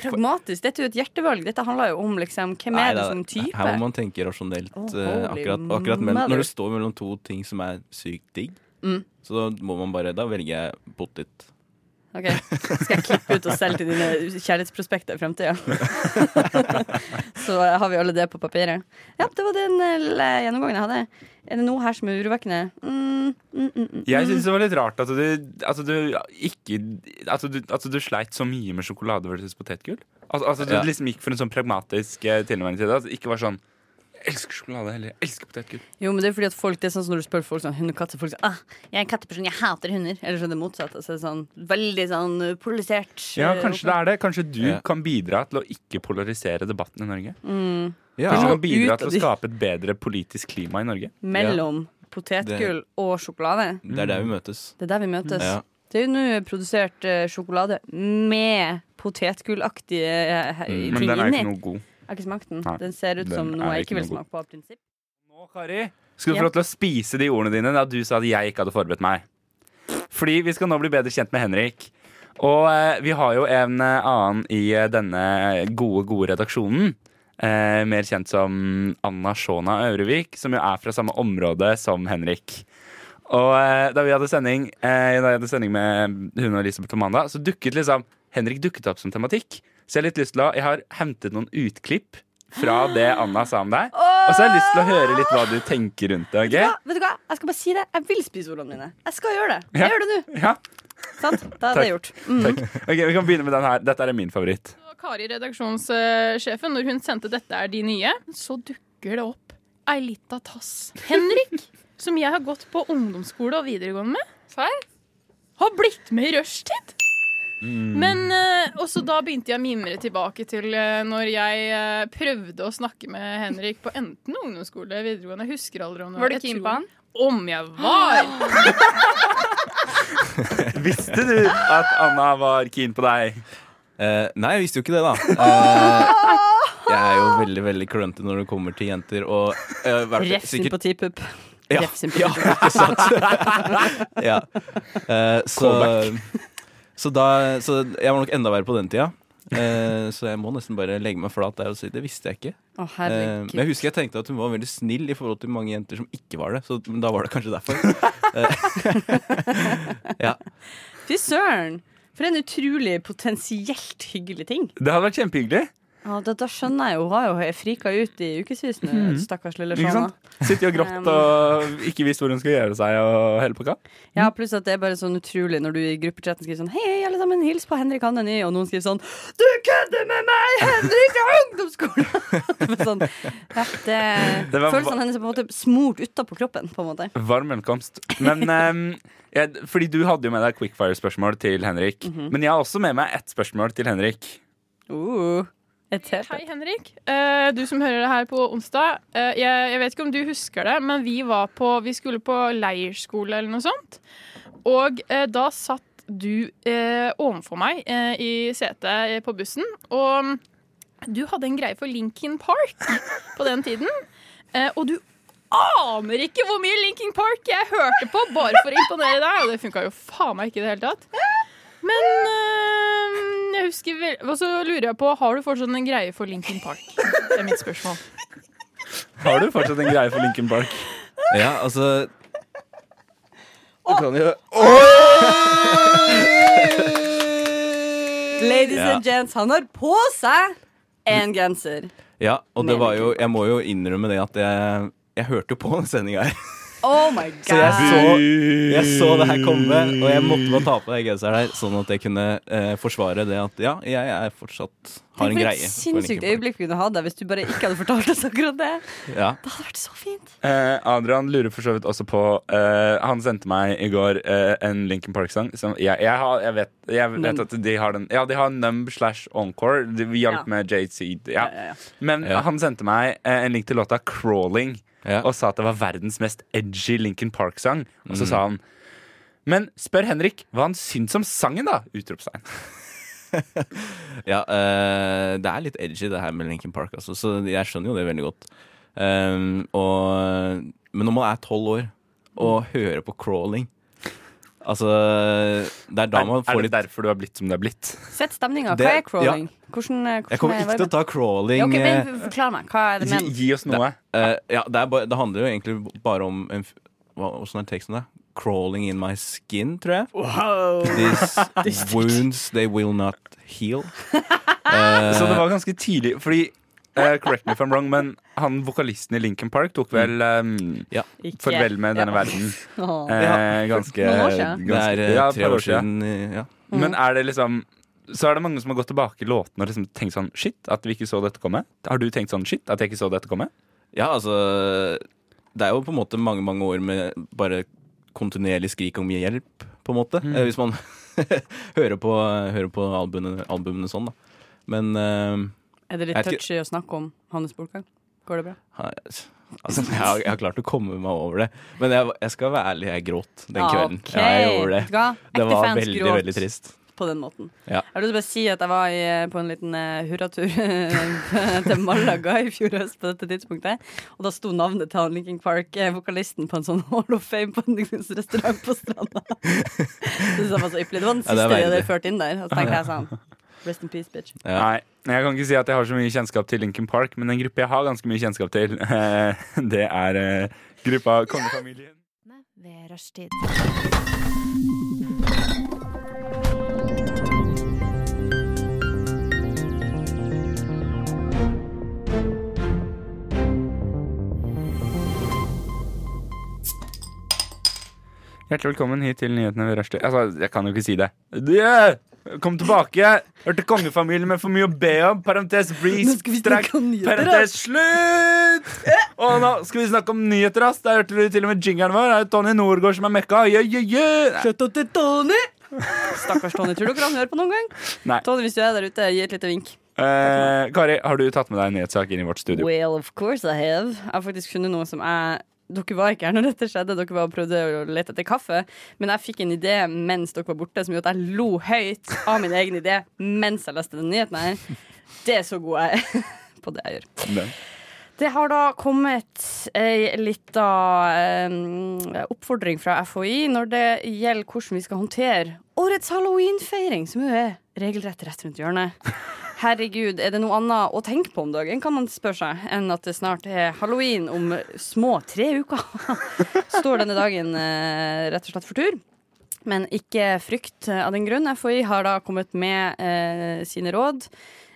Speaker 4: Pragmatisk. Dette er jo et hjertevalg. Dette handler jo om liksom, hvem
Speaker 5: Nei,
Speaker 4: er det
Speaker 5: da-
Speaker 4: som type?
Speaker 5: Her må man tenke rasjonelt.
Speaker 4: Oh,
Speaker 5: eh,
Speaker 4: holy
Speaker 5: akkurat akkurat mellom,
Speaker 4: mother.
Speaker 5: Når det står mellom to ting som er sykt digg,
Speaker 4: Mm.
Speaker 5: så da må man bare Da velger jeg potet.
Speaker 4: Ok, Skal jeg klippe ut og selge til dine kjærlighetsprospekter i fremtida? så har vi alle det på papiret. Ja, det var den eh, lille gjennomgangen jeg hadde. Er det noe her som er urovekkende? Mm, mm, mm, mm.
Speaker 2: Jeg syns det var litt rart at du, at du ikke at du, at du sleit så mye med sjokolade versus potetgull. Altså, altså du
Speaker 5: Ja.
Speaker 2: liksom gikk for en sånn pragmatisk eh, tilnærming til det. Altså, ikke var sånn Jeg elsker sjokolade eller jeg elsker potetgull.
Speaker 4: Jo, men det er fordi at folk, det er sånn som når du spør folk sånn hund og katt, så folk sier ah, jeg er en katteperson, jeg hater hunder. Eller så er det motsatt. Altså sånn veldig sånn uh, polarisert.
Speaker 2: Ja,
Speaker 4: uh,
Speaker 2: kanskje det er det. Kanskje du
Speaker 5: Ja.
Speaker 2: kan bidra til å ikke polarisere debatten i Norge.
Speaker 5: Ja.
Speaker 2: Kanskje du kan
Speaker 4: Og
Speaker 2: bidra
Speaker 4: ut av
Speaker 2: til å
Speaker 4: de-
Speaker 2: skape et bedre politisk klima i Norge.
Speaker 4: Mellom potetgull og sjokolade.
Speaker 5: Det er der vi møtes.
Speaker 4: Det er der vi møtes.
Speaker 5: Ja.
Speaker 4: Det er jo nå produsert eh, sjokolade med potetgullaktige eh, ting
Speaker 2: Mm. Men den er jo
Speaker 4: inni.
Speaker 2: ikke noe god.
Speaker 4: Jeg har ikke smakt den.
Speaker 2: Nei,
Speaker 4: Den ser ut
Speaker 2: den
Speaker 4: som
Speaker 2: er
Speaker 4: noe
Speaker 2: ikke
Speaker 4: jeg ikke vil
Speaker 2: noe god.
Speaker 4: smake på av prinsipp.
Speaker 2: Nå, Kari, skal du
Speaker 4: Ja.
Speaker 2: få lov til å spise de ordene dine da du sa at jeg ikke hadde forberedt meg. Fordi vi skal nå bli bedre kjent med Henrik. Og eh, vi har jo en eh, annen i eh, denne gode, gode redaksjonen. Eh, mer kjent som Anna Shona Aurevik, som jo er fra samme område som Henrik. Og eh, da vi hadde sending, eh, da jeg hadde sending med hun og Elisabeth om mandag, så dukket liksom Henrik dukket opp som tematikk. Så jeg har litt lyst til å Jeg har hentet noen utklipp fra det Anna sa om deg. Og så har jeg lyst til å høre litt hva du tenker rundt det.
Speaker 4: Ja,
Speaker 2: ok?
Speaker 4: vet du hva? Jeg skal bare si det. Jeg vil spise ordene mine. Jeg skal gjøre det. Jeg
Speaker 2: Ja.
Speaker 4: gjør det nå.
Speaker 2: Ja.
Speaker 4: Sant? Da er det gjort. Mm.
Speaker 2: Ok, Vi kan begynne med den her. Dette er min favoritt.
Speaker 6: Og Kari, redaksjonssjefen, når hun sendte 'Dette er de nye', så dukker det opp ei lita tass. Henrik, som jeg har gått på ungdomsskole og videregående med, har blitt med i rushtid! Men eh, også da begynte jeg å mimre tilbake til eh, når jeg eh, prøvde å snakke med Henrik på enten ungdomsskole eller videregående. Jeg husker aldri om det
Speaker 7: Var du
Speaker 6: jeg
Speaker 7: keen
Speaker 6: tror-
Speaker 7: på han?
Speaker 6: Om jeg var!
Speaker 2: Visste du at Anna var keen på deg?
Speaker 5: Eh, nei, jeg visste jo ikke det, da. Eh, jeg er jo veldig veldig klønete når det kommer til jenter. Og eh, hvert-
Speaker 4: Ref
Speaker 5: sikkert-
Speaker 4: sympatipupp.
Speaker 5: Ja.
Speaker 4: Ref
Speaker 5: Ja,
Speaker 4: sympatipupp.
Speaker 5: ikke sant? ja. Eh, så, så da Så jeg var nok enda verre på den tida. Eh, så jeg må nesten bare legge meg flat der og si det visste jeg ikke.
Speaker 4: Å,
Speaker 5: Eh, men jeg
Speaker 4: herregud.
Speaker 5: husker jeg tenkte at hun var veldig snill i forhold til mange jenter som ikke var det. Så men da var det kanskje derfor. Eh, ja.
Speaker 4: Fy søren! For en utrolig potensielt hyggelig ting.
Speaker 2: Det hadde vært kjempehyggelig.
Speaker 4: Ja, da, da skjønner jeg jo. Hun har jo frika ut i ukevis nå, stakkars lille
Speaker 2: Mhm. Ikke
Speaker 4: Shana.
Speaker 2: sant? Sittet og grått og ikke visst hvor hun skulle gjøre seg og hele pakka.
Speaker 4: Ja,
Speaker 5: Mm.
Speaker 4: pluss at det er bare sånn utrolig når du i gruppechatten skriver sånn Hei, hei, alle sammen, hils på Henrik han er ny, og noen skriver sånn Du kødder med meg! Henrik er ungdomsskolen! sånn, ja, det,
Speaker 2: Det var-
Speaker 4: følelsene hennes er på en måte smurt utapå kroppen, på en måte.
Speaker 2: Varm velkomst. Men ehm, jeg, Fordi du hadde jo med deg quickfire-spørsmål til Henrik. Men jeg har også med meg ett spørsmål til Henrik.
Speaker 4: Uh, et helt
Speaker 6: Hei, Henrik. Eh, du som hører det her på onsdag. Eh, jeg, jeg vet ikke om du husker det, men vi, var på, vi skulle på leirskole eller noe sånt. Og eh, da satt du eh, ovenfor meg eh, i setet eh, på bussen, og du hadde en greie for Linkin Park på den tiden. Eh, og du aner ikke hvor mye Linkin Park jeg hørte på bare for å imponere deg, og det funka jo faen meg ikke i det hele tatt. Men øhm, jeg husker vel, Og så lurer jeg på, har du fortsatt en greie for Linkin Park? Det er mitt spørsmål.
Speaker 2: Har du fortsatt en greie for Lincoln Park?
Speaker 5: ja, altså Du kan jo
Speaker 4: Ladies
Speaker 5: Ja.
Speaker 4: and gents, han har på seg en genser.
Speaker 5: Ja, og det
Speaker 4: Mener
Speaker 5: var
Speaker 4: ikke
Speaker 5: jo Jeg må jo innrømme det at jeg, jeg hørte jo på den sendinga her.
Speaker 4: Oh my god.
Speaker 5: Så jeg så, jeg så det her komme, og jeg måtte bare ta på den genseren her, sånn at jeg kunne eh, forsvare det at ja, jeg er fortsatt har
Speaker 4: Tenk for
Speaker 5: en greie.
Speaker 4: et
Speaker 5: for Linkin
Speaker 4: sinnssykt
Speaker 5: Park.
Speaker 4: øyeblikk vi kunne hatt der hvis du bare ikke hadde fortalt oss akkurat det.
Speaker 5: Ja.
Speaker 4: Det hadde vært så fint.
Speaker 2: Eh, Adrian lurer for så vidt også på eh, Han sendte meg i går eh, en Lincoln Park-sang. som- Jeg, jeg, har- jeg, vet- jeg vet
Speaker 4: Numb.
Speaker 2: at de har den. Ja, de har Numb slash Encore. De vi hjalp
Speaker 4: Ja.
Speaker 2: med JC. Ja.
Speaker 4: Ja, ja, ja.
Speaker 2: Men
Speaker 5: Ja.
Speaker 2: han sendte meg eh, en link til låta 'Crawling'
Speaker 5: Ja.
Speaker 2: og sa at det var verdens mest edgy Lincoln Park-sang. Og
Speaker 5: Mm.
Speaker 2: så sa han Men spør Henrik hva han syns om sangen, da! Utropstegn.
Speaker 5: Ja, eh, det er litt edgy det her med Linkin Park, altså, så jeg skjønner jo det veldig godt. Ehm, og, men når man er tolv år og hører på crawling Altså, det er da
Speaker 2: er
Speaker 5: man får
Speaker 2: det
Speaker 5: litt
Speaker 2: derfor du har blitt som du har blitt?
Speaker 4: Sett stemninga.
Speaker 5: Det-
Speaker 4: Hva er crawling? Hvordan, eh, hvordan
Speaker 5: Jeg kommer ikke til å ta crawling.
Speaker 4: Ja, ok,
Speaker 5: eh,
Speaker 4: men Forklar meg. Hva er det
Speaker 2: Gi,
Speaker 4: med
Speaker 2: gi oss noe.
Speaker 5: Eh, ja, det, er bare, det handler jo egentlig bare om en, f- hva, Hvordan er teksten da? Crawling in my skin, tror jeg. These wounds they will not heal. Eh,
Speaker 2: Så det var ganske tidlig, fordi eh, Correct me if I'm wrong, men han vokalisten i Lincoln Park tok vel
Speaker 5: Mm.
Speaker 2: eh,
Speaker 5: ja,
Speaker 4: Ikke-
Speaker 2: farvel med denne
Speaker 4: Ja.
Speaker 2: verden
Speaker 4: Åh.
Speaker 2: eh, ganske
Speaker 4: Noen år siden. Mm.
Speaker 5: det er
Speaker 2: ganske-
Speaker 5: eh,
Speaker 2: ja, et
Speaker 5: tre
Speaker 2: par
Speaker 5: år siden. eh, Ja.
Speaker 2: Men er det liksom så er det mange som har gått tilbake i låtene og liksom tenkt sånn Shit, at vi ikke så dette komme. Har du tenkt sånn shit, at jeg ikke så dette komme?
Speaker 5: ja, altså Det er jo på en måte mange, mange år med bare kontinuerlig skrik om hjelp, på en måte. Eh, hvis man hører på, hører på albumene, albumene sånn, da. Men eh,
Speaker 4: Er det litt
Speaker 5: Jeg vet ikke-
Speaker 4: touchy å snakke om Hannes Bolkang? Går det bra?
Speaker 5: Ha- Altså, jeg, har, jeg har klart å komme meg over det. Men jeg, jeg skal være ærlig, jeg gråt den kvelden.
Speaker 4: ok.
Speaker 5: Ja, jeg gjorde
Speaker 4: Vet du
Speaker 5: det.
Speaker 4: hva?
Speaker 5: Det
Speaker 4: Ekte
Speaker 5: var
Speaker 4: fans
Speaker 5: veldig,
Speaker 4: gråt
Speaker 5: veldig trist.
Speaker 4: På den måten.
Speaker 5: Ja.
Speaker 4: Jeg har lyst til å bare si at jeg var i, på en liten eh, hurratur eh, til Malaga i fjor høst på dette tidspunktet. Og da sto navnet til han Linkin Park-vokalisten på en sånn Hall of Fame på en restaurant på stranda. det synes jeg var så ypperlig. Det var den
Speaker 5: Ja, det
Speaker 4: siste
Speaker 5: er
Speaker 4: jeg hadde
Speaker 5: veldig.
Speaker 4: ført inn der. Og så tenkte jeg sånn Rest in peace, bitch.
Speaker 5: Ja.
Speaker 2: Nei. Jeg kan ikke si at jeg har så mye kjennskap til Lincoln Park, men en gruppe jeg har ganske mye kjennskap til, eh, det er eh, gruppa Kongefamilien.
Speaker 7: Ved rushtid.
Speaker 2: Hjertelig velkommen hit til nyhetene ved rushtid. Altså, jeg kan jo ikke si det. Yeah! Kom tilbake! Hørte kongefamilien med for mye å be om. Parentes breeze.
Speaker 4: Nå skal vi snakke
Speaker 2: strekk,
Speaker 4: om nyheter,
Speaker 2: Parentes slutt! Og nå skal vi snakke om nyheter, ass. Der hørte du til og med jingeren vår. Det er jo Tony Norgård som er mekka. Yeah, yeah, yeah.
Speaker 4: Shout out til Tony! Stakkars Tony. Tror dere han hører på noen gang?
Speaker 2: Nei.
Speaker 4: Tony, hvis du er der ute, gi et lite vink.
Speaker 2: Eh, Kari, har du tatt med deg en nyhetssak inn i vårt studio?
Speaker 4: Well, of course I have. Jeg har faktisk funnet noe som jeg dere var ikke her når dette skjedde, dere var og prøvde å lete etter kaffe. Men jeg fikk en idé mens dere var borte, som gjorde at jeg lo høyt av min egen idé mens jeg leste den nyheten her. Det er så god jeg er på det jeg gjør.
Speaker 2: Den.
Speaker 4: Det har da kommet ei lita eh, oppfordring fra FHI når det gjelder hvordan vi skal håndtere årets halloweenfeiring, som jo er regelrett rett rundt hjørnet. Herregud, er det noe annet å tenke på om dagen, kan man spørre seg, enn at det snart er halloween om små tre uker? Står denne dagen eh, rett og slett for tur? Men ikke frykt eh, av den grunn. FHI har da kommet med eh, sine råd.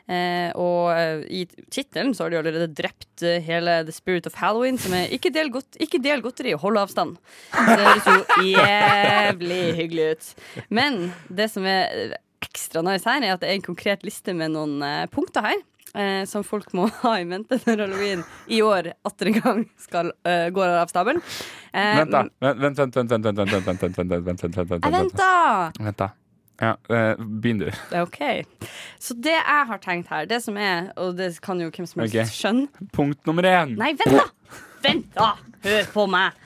Speaker 4: Eh, og eh, i tittelen så har de allerede drept eh, hele The Spirit of Halloween, som er 'Ikke del, godt, ikke del godteri, hold avstand'. Det høres jo jævlig hyggelig ut. Men det som er eh, ekstra nice her, er at det er en konkret liste med noen eh, punkter her. Eh, som folk må ha i mente når halloween i år atter en gang skal, eh, går av stabelen. Eh,
Speaker 2: Vent, da. Vent, vent, vent, vent, vent, vent, vent, vent, vent, vent, vent, vent,
Speaker 4: Jeg
Speaker 2: vent, vent.
Speaker 4: venter!
Speaker 2: Vent, da. Ja, eh, begynn du.
Speaker 4: Ok. Så det jeg har tenkt her, det som er Og det kan jo hvem som helst
Speaker 2: Ok.
Speaker 4: skjønne.
Speaker 2: Punkt nummer én.
Speaker 4: Nei, vent, da! Vent, da! Hør på meg!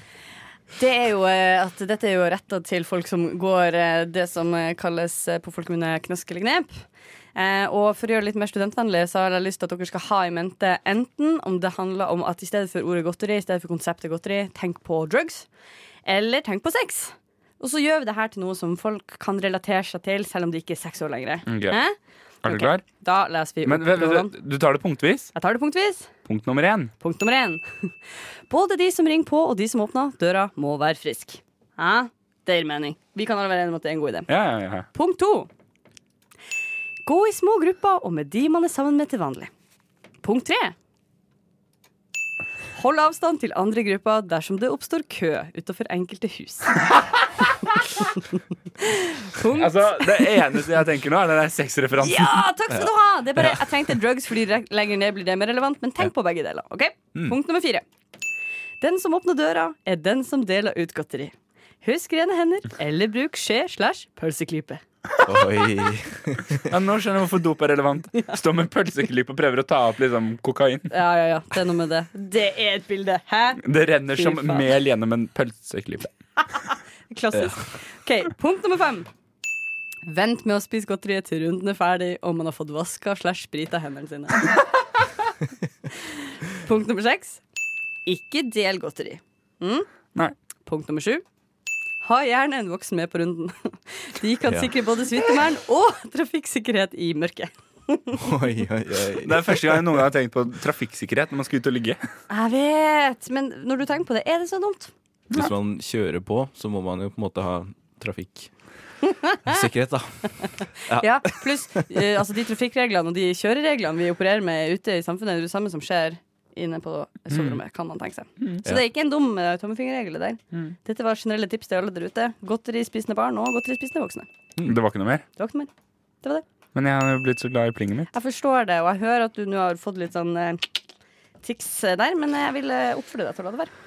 Speaker 4: Det er jo eh, at Dette er jo retta til folk som går eh, det som eh, kalles eh, på folkemunne knask eller knep. Eh, og for å gjøre det litt mer studentvennlig, så har jeg lyst til at dere skal ha i mente enten om det handler om at i stedet for ordet godteri, i stedet for konseptet godteri, tenk på drugs. Eller tenk på sex. Og så gjør vi det her til noe som folk kan relatere seg til, selv om de ikke er seks år lenger.
Speaker 2: Ok.
Speaker 4: Hæ?
Speaker 2: Er du
Speaker 4: Ok,
Speaker 2: klar?
Speaker 4: Da leser vi
Speaker 2: Men
Speaker 4: opp
Speaker 2: vent,
Speaker 4: lovene.
Speaker 2: vent, vent, du tar det punktvis?
Speaker 4: Jeg tar det punktvis.
Speaker 2: Punkt nummer én.
Speaker 4: Punkt nummer én. Både de som ringer på og de som åpner døra, må være friske. Hæ? Det gir mening. Vi kan alle være enige om at det er en god idé.
Speaker 2: Ja, ja, ja.
Speaker 4: Punkt to. Gå i små grupper og med de man er sammen med til vanlig. Punkt tre. Hold avstand til andre grupper dersom det oppstår kø utenfor enkelte hus. Punkt
Speaker 2: Altså, Det eneste jeg tenker nå, er den der sexreferansen.
Speaker 4: Ja, takk skal du ha! Det er bare, jeg trengte drugs fordi re- lenger ned blir det mer relevant, men tenk på begge deler. ok? Punkt nummer fire. Den som åpner døra, er den som deler ut godteri. Husk rene hender, eller bruk skje slash pølseklype.
Speaker 5: Oi.
Speaker 2: Ja, nå skjønner jeg hvorfor dop er relevant. Står med pølseklipp og prøver å ta opp liksom, kokain.
Speaker 4: Ja, ja, ja, det er noe med det. Det er et bilde. Hæ?
Speaker 2: Det renner
Speaker 4: Fy
Speaker 2: som
Speaker 4: faen.
Speaker 2: mel gjennom en pølseklipp.
Speaker 4: Klassisk. Ok, Punkt nummer fem. Vent med å spise godteriet til runden er ferdig og man har fått vaska slash sprita hendene sine. Punkt nummer seks. Ikke del godteri. Mm?
Speaker 2: Nei.
Speaker 4: Punkt nummer sju. Ha gjerne en voksen med på runden. De kan
Speaker 5: Ja.
Speaker 4: sikre både smittevern og trafikksikkerhet i mørket.
Speaker 5: Oi, oi, oi.
Speaker 2: Det er første gang jeg noen gang har tenkt på trafikksikkerhet når man skal ut og ligge.
Speaker 4: Jeg vet, men når du tenker på det, er det så dumt?
Speaker 5: Hvis man kjører på, så må man jo på en måte ha trafikk. Sikkerhet, da.
Speaker 4: Ja, pluss eh, altså de trafikkreglene og de kjørereglene vi opererer med ute i samfunnet, det er det samme som skjer inne på soverommet, kan man tenke seg.
Speaker 2: Mm.
Speaker 4: Så det er ikke en dum eh, tommefingerregel det der. Dette var generelle tips til alle der ute. Godterispisende barn og godterispisende voksne.
Speaker 2: Det var ikke noe mer.
Speaker 4: Det var ikke noe mer. Det var det.
Speaker 2: Men jeg har jo blitt så glad i plinget mitt.
Speaker 4: Jeg forstår det, og jeg hører at du nå har fått litt sånn eh, tics eh, der, men jeg vil eh, oppfordre deg til å la det være.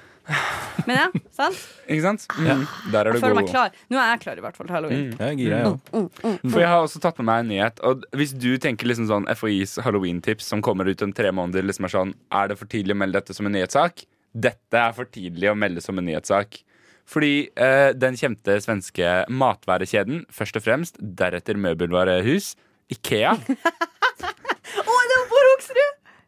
Speaker 4: Men ja, sant?
Speaker 2: Ikke sant? Mm. Der er
Speaker 4: Jeg
Speaker 2: du
Speaker 4: føler
Speaker 2: god. Mm.
Speaker 4: meg klar. Nå er jeg klar i hvert fall til halloween.
Speaker 5: Jeg er gira, jeg òg.
Speaker 2: For jeg har også tatt med meg en nyhet. Og hvis du tenker liksom sånn FHIs halloween-tips som kommer ut om tre måneder, liksom er sånn Er det for tidlig å melde dette som en nyhetssak? Dette er for tidlig å melde som en nyhetssak. Fordi eh, den kjente svenske matværekjeden, først og fremst, deretter møbelvarehus, Ikea
Speaker 4: Å, er det på Hoksrud?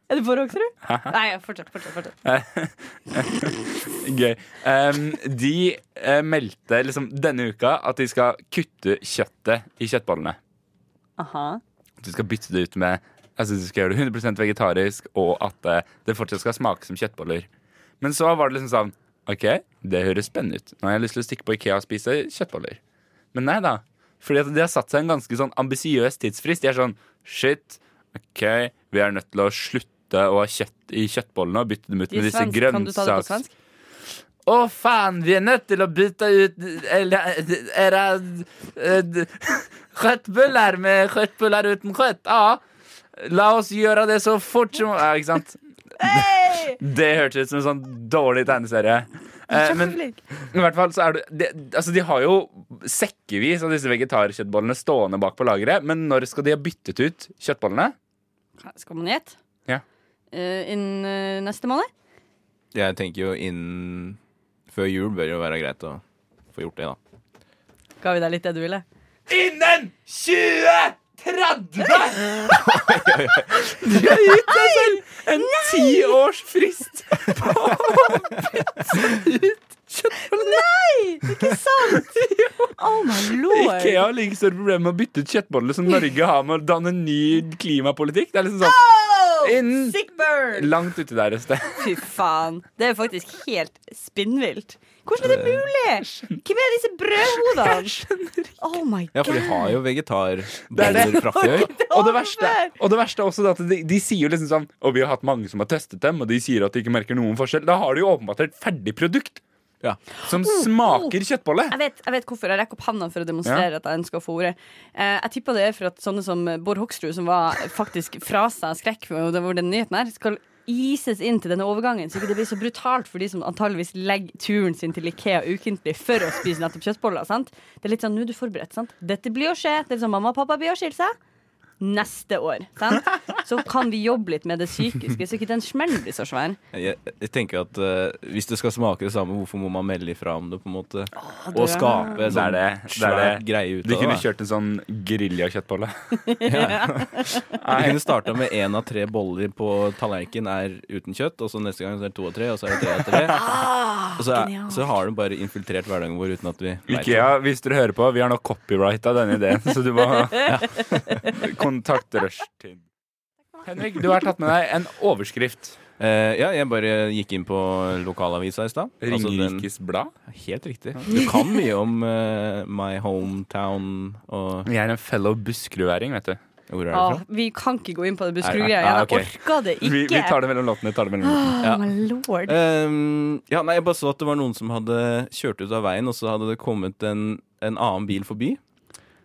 Speaker 4: Er det på Hoksrud? Nei, fortsett, fortsett. fortsett.
Speaker 2: Gøy. Em, de eh, meldte liksom denne uka at de skal kutte kjøttet i kjøttbollene.
Speaker 4: Aha.
Speaker 2: At de skal bytte det ut med Altså de skal gjøre det 100 vegetarisk, og at eh, det fortsatt skal smake som kjøttboller. Men så var det liksom sånn OK, det høres spennende ut. Nå har jeg lyst til å stikke på Ikea og spise kjøttboller. Men nei da. Fordi at de har satt seg en ganske sånn ambisiøs tidsfrist. De er sånn Shit, OK, vi er nødt til å slutte å ha kjøtt i kjøttbollene og bytte dem ut
Speaker 4: De
Speaker 2: med
Speaker 4: er
Speaker 2: disse
Speaker 4: svensk. Kan du ta det på
Speaker 2: grønnsaks...
Speaker 4: svensk?
Speaker 2: Å, faen, vi er nødt til å bytte ut eller, era- eh, d- kjøttboller med kjøttboller uten kjøtt. Ja. La oss gjøre det så fort som Ja, ikke sant? Det hørtes ut som en sånn dårlig tegneserie. Eh, men i hvert fall så er det, det Altså, de har jo sekkevis av disse vegetarkjøttbollene stående bak på lageret, men når skal de ha byttet ut kjøttbollene?
Speaker 4: Skal man gjette?
Speaker 2: Ja.
Speaker 4: Eh, Innen eh, neste måned?
Speaker 5: Jeg tenker jo innen Før jul bør jo være greit å få gjort det, da.
Speaker 4: Ga vi deg litt det du ville?
Speaker 2: Innen 2030! De har gitt deg selv en tiårsfrist på å bytte ut kjøttbollene.
Speaker 4: Nei! Det er ikke sant! Oh my lord.
Speaker 2: Ikea har like store problemer med å bytte ut kjøttboller som Norge har med å danne ny klimapolitikk. Det er liksom sånn Innen-
Speaker 4: Sick burn!
Speaker 2: langt uti der et sted.
Speaker 4: Fy faen. Det er faktisk helt spinnvilt. Hvordan er
Speaker 2: Eh.
Speaker 4: det mulig? Hvem er disse brødhodene? Oh my
Speaker 5: Ja, for de
Speaker 4: god.
Speaker 5: har jo
Speaker 2: Det er
Speaker 5: vegetarboller fra før.
Speaker 2: Og det verste, og det verste er også det at de, de sier jo liksom sånn Og vi har hatt mange som har testet dem, og de sier at de ikke merker noen forskjell. Da har de jo åpenbart et ferdig produkt
Speaker 5: Ja.
Speaker 2: som smaker kjøttbolle.
Speaker 4: Jeg vet, jeg vet hvorfor. Jeg rekker opp hånda for å demonstrere at jeg ønsker å få ordet. Eh, jeg tipper det er for at sånne som Bård Hoksrud, som var faktisk fra seg av skrekk for det var den nyheten her, skal ises inn til denne overgangen, så ikke det blir så brutalt for de som antageligvis legger turen sin til Ikea ukentlig for å spise nettopp kjøttboller. sant? Det er litt sånn nå er du forberedt, sant? Dette blir å skje. Det er sånn mamma og pappa blir å skille seg. Neste år. Sant? Så kan vi jobbe litt med det psykiske, så ikke den smellen blir så svær.
Speaker 5: Jeg, jeg tenker at eh, Hvis det skal smake det samme, hvorfor må man melde ifra om det? på en måte
Speaker 4: det
Speaker 5: Og
Speaker 4: er-
Speaker 5: skape en
Speaker 2: Det er
Speaker 5: sånn
Speaker 2: det, det er
Speaker 5: svær
Speaker 2: det.
Speaker 5: greie ut
Speaker 2: De kunne
Speaker 5: av det.
Speaker 2: kjørt en sånn grilla-kjøttbolle.
Speaker 5: da. Vi kunne starta med én av tre boller på tallerkenen er uten kjøtt, og så neste gang så er det to av tre, og så er det tre av tre. Og så, er,
Speaker 4: Ah, genialt.
Speaker 5: så har du bare infiltrert hverdagen vår uten at vi vet det.
Speaker 2: Ikea, hvis dere hører på, vi har nå copyrighta denne ideen, så du må kontakte rushtid. Henrik, du har tatt med deg en overskrift.
Speaker 5: Eh, ja, jeg bare gikk inn på lokalavisa i stad. Altså den-
Speaker 2: Ringerikes Blad.
Speaker 5: Helt riktig. Du kan mye om eh, my hometown og
Speaker 2: Jeg er en fellow buskerudværing, vet du.
Speaker 5: Hvor er det
Speaker 4: Åh, Ah,
Speaker 5: fra?
Speaker 4: vi kan ikke gå inn på det
Speaker 5: Nei,
Speaker 4: Buskerud-greia.
Speaker 5: nei,
Speaker 4: Jeg
Speaker 5: ok.
Speaker 4: orker det ikke.
Speaker 2: Vi, vi tar det mellom låtene. vi Tar det mellom låtene.
Speaker 4: Oh,
Speaker 5: Ja.
Speaker 4: my lord.
Speaker 5: Ehm, ja, nei, jeg bare så at det var noen som hadde kjørt ut av veien, og så hadde det kommet en, en annen bil forbi.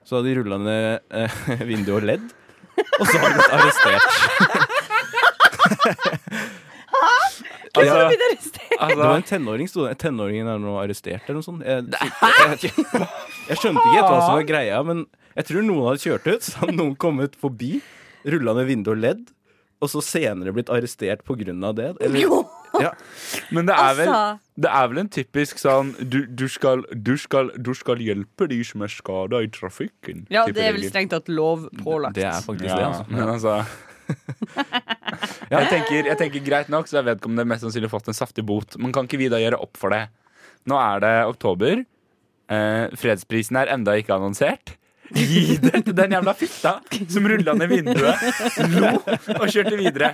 Speaker 5: Så hadde de rulla ned eh, vinduet og ledd, og så hadde de blitt arrestert.
Speaker 4: Hvem som
Speaker 2: Altså,
Speaker 4: blir arrestert?
Speaker 5: Det var
Speaker 2: altså,
Speaker 5: en tenåring, sto det. Tenåringen er nå arrestert eller noe sånt. Jeg, jeg, vet ikke- jeg skjønte ikke helt hva som var greia, men jeg tror noen hadde kjørt ut, så hadde noen kommet forbi, rulla ned vinduet og ledd, og så senere blitt arrestert på grunn av det. Eller,
Speaker 4: Jo!
Speaker 5: ja.
Speaker 2: men det er, vel,
Speaker 4: Altså.
Speaker 2: det er vel en typisk sånn du, du, skal, du, skal, du skal hjelpe de som er skada i trafikken.
Speaker 4: Ja,
Speaker 2: type
Speaker 4: det er vel
Speaker 2: regel.
Speaker 4: strengt tatt lovpålagt.
Speaker 5: Det er faktisk det,
Speaker 2: Ja,
Speaker 5: altså.
Speaker 2: men altså jeg, tenker, jeg tenker Greit nok, så har vedkommende mest sannsynlig fått en saftig bot. Men kan ikke vi da gjøre opp for det? Nå er det oktober. Eh, fredsprisen er enda ikke annonsert. Gi det til den jævla fitta som rulla ned vinduet, lo og kjørte videre.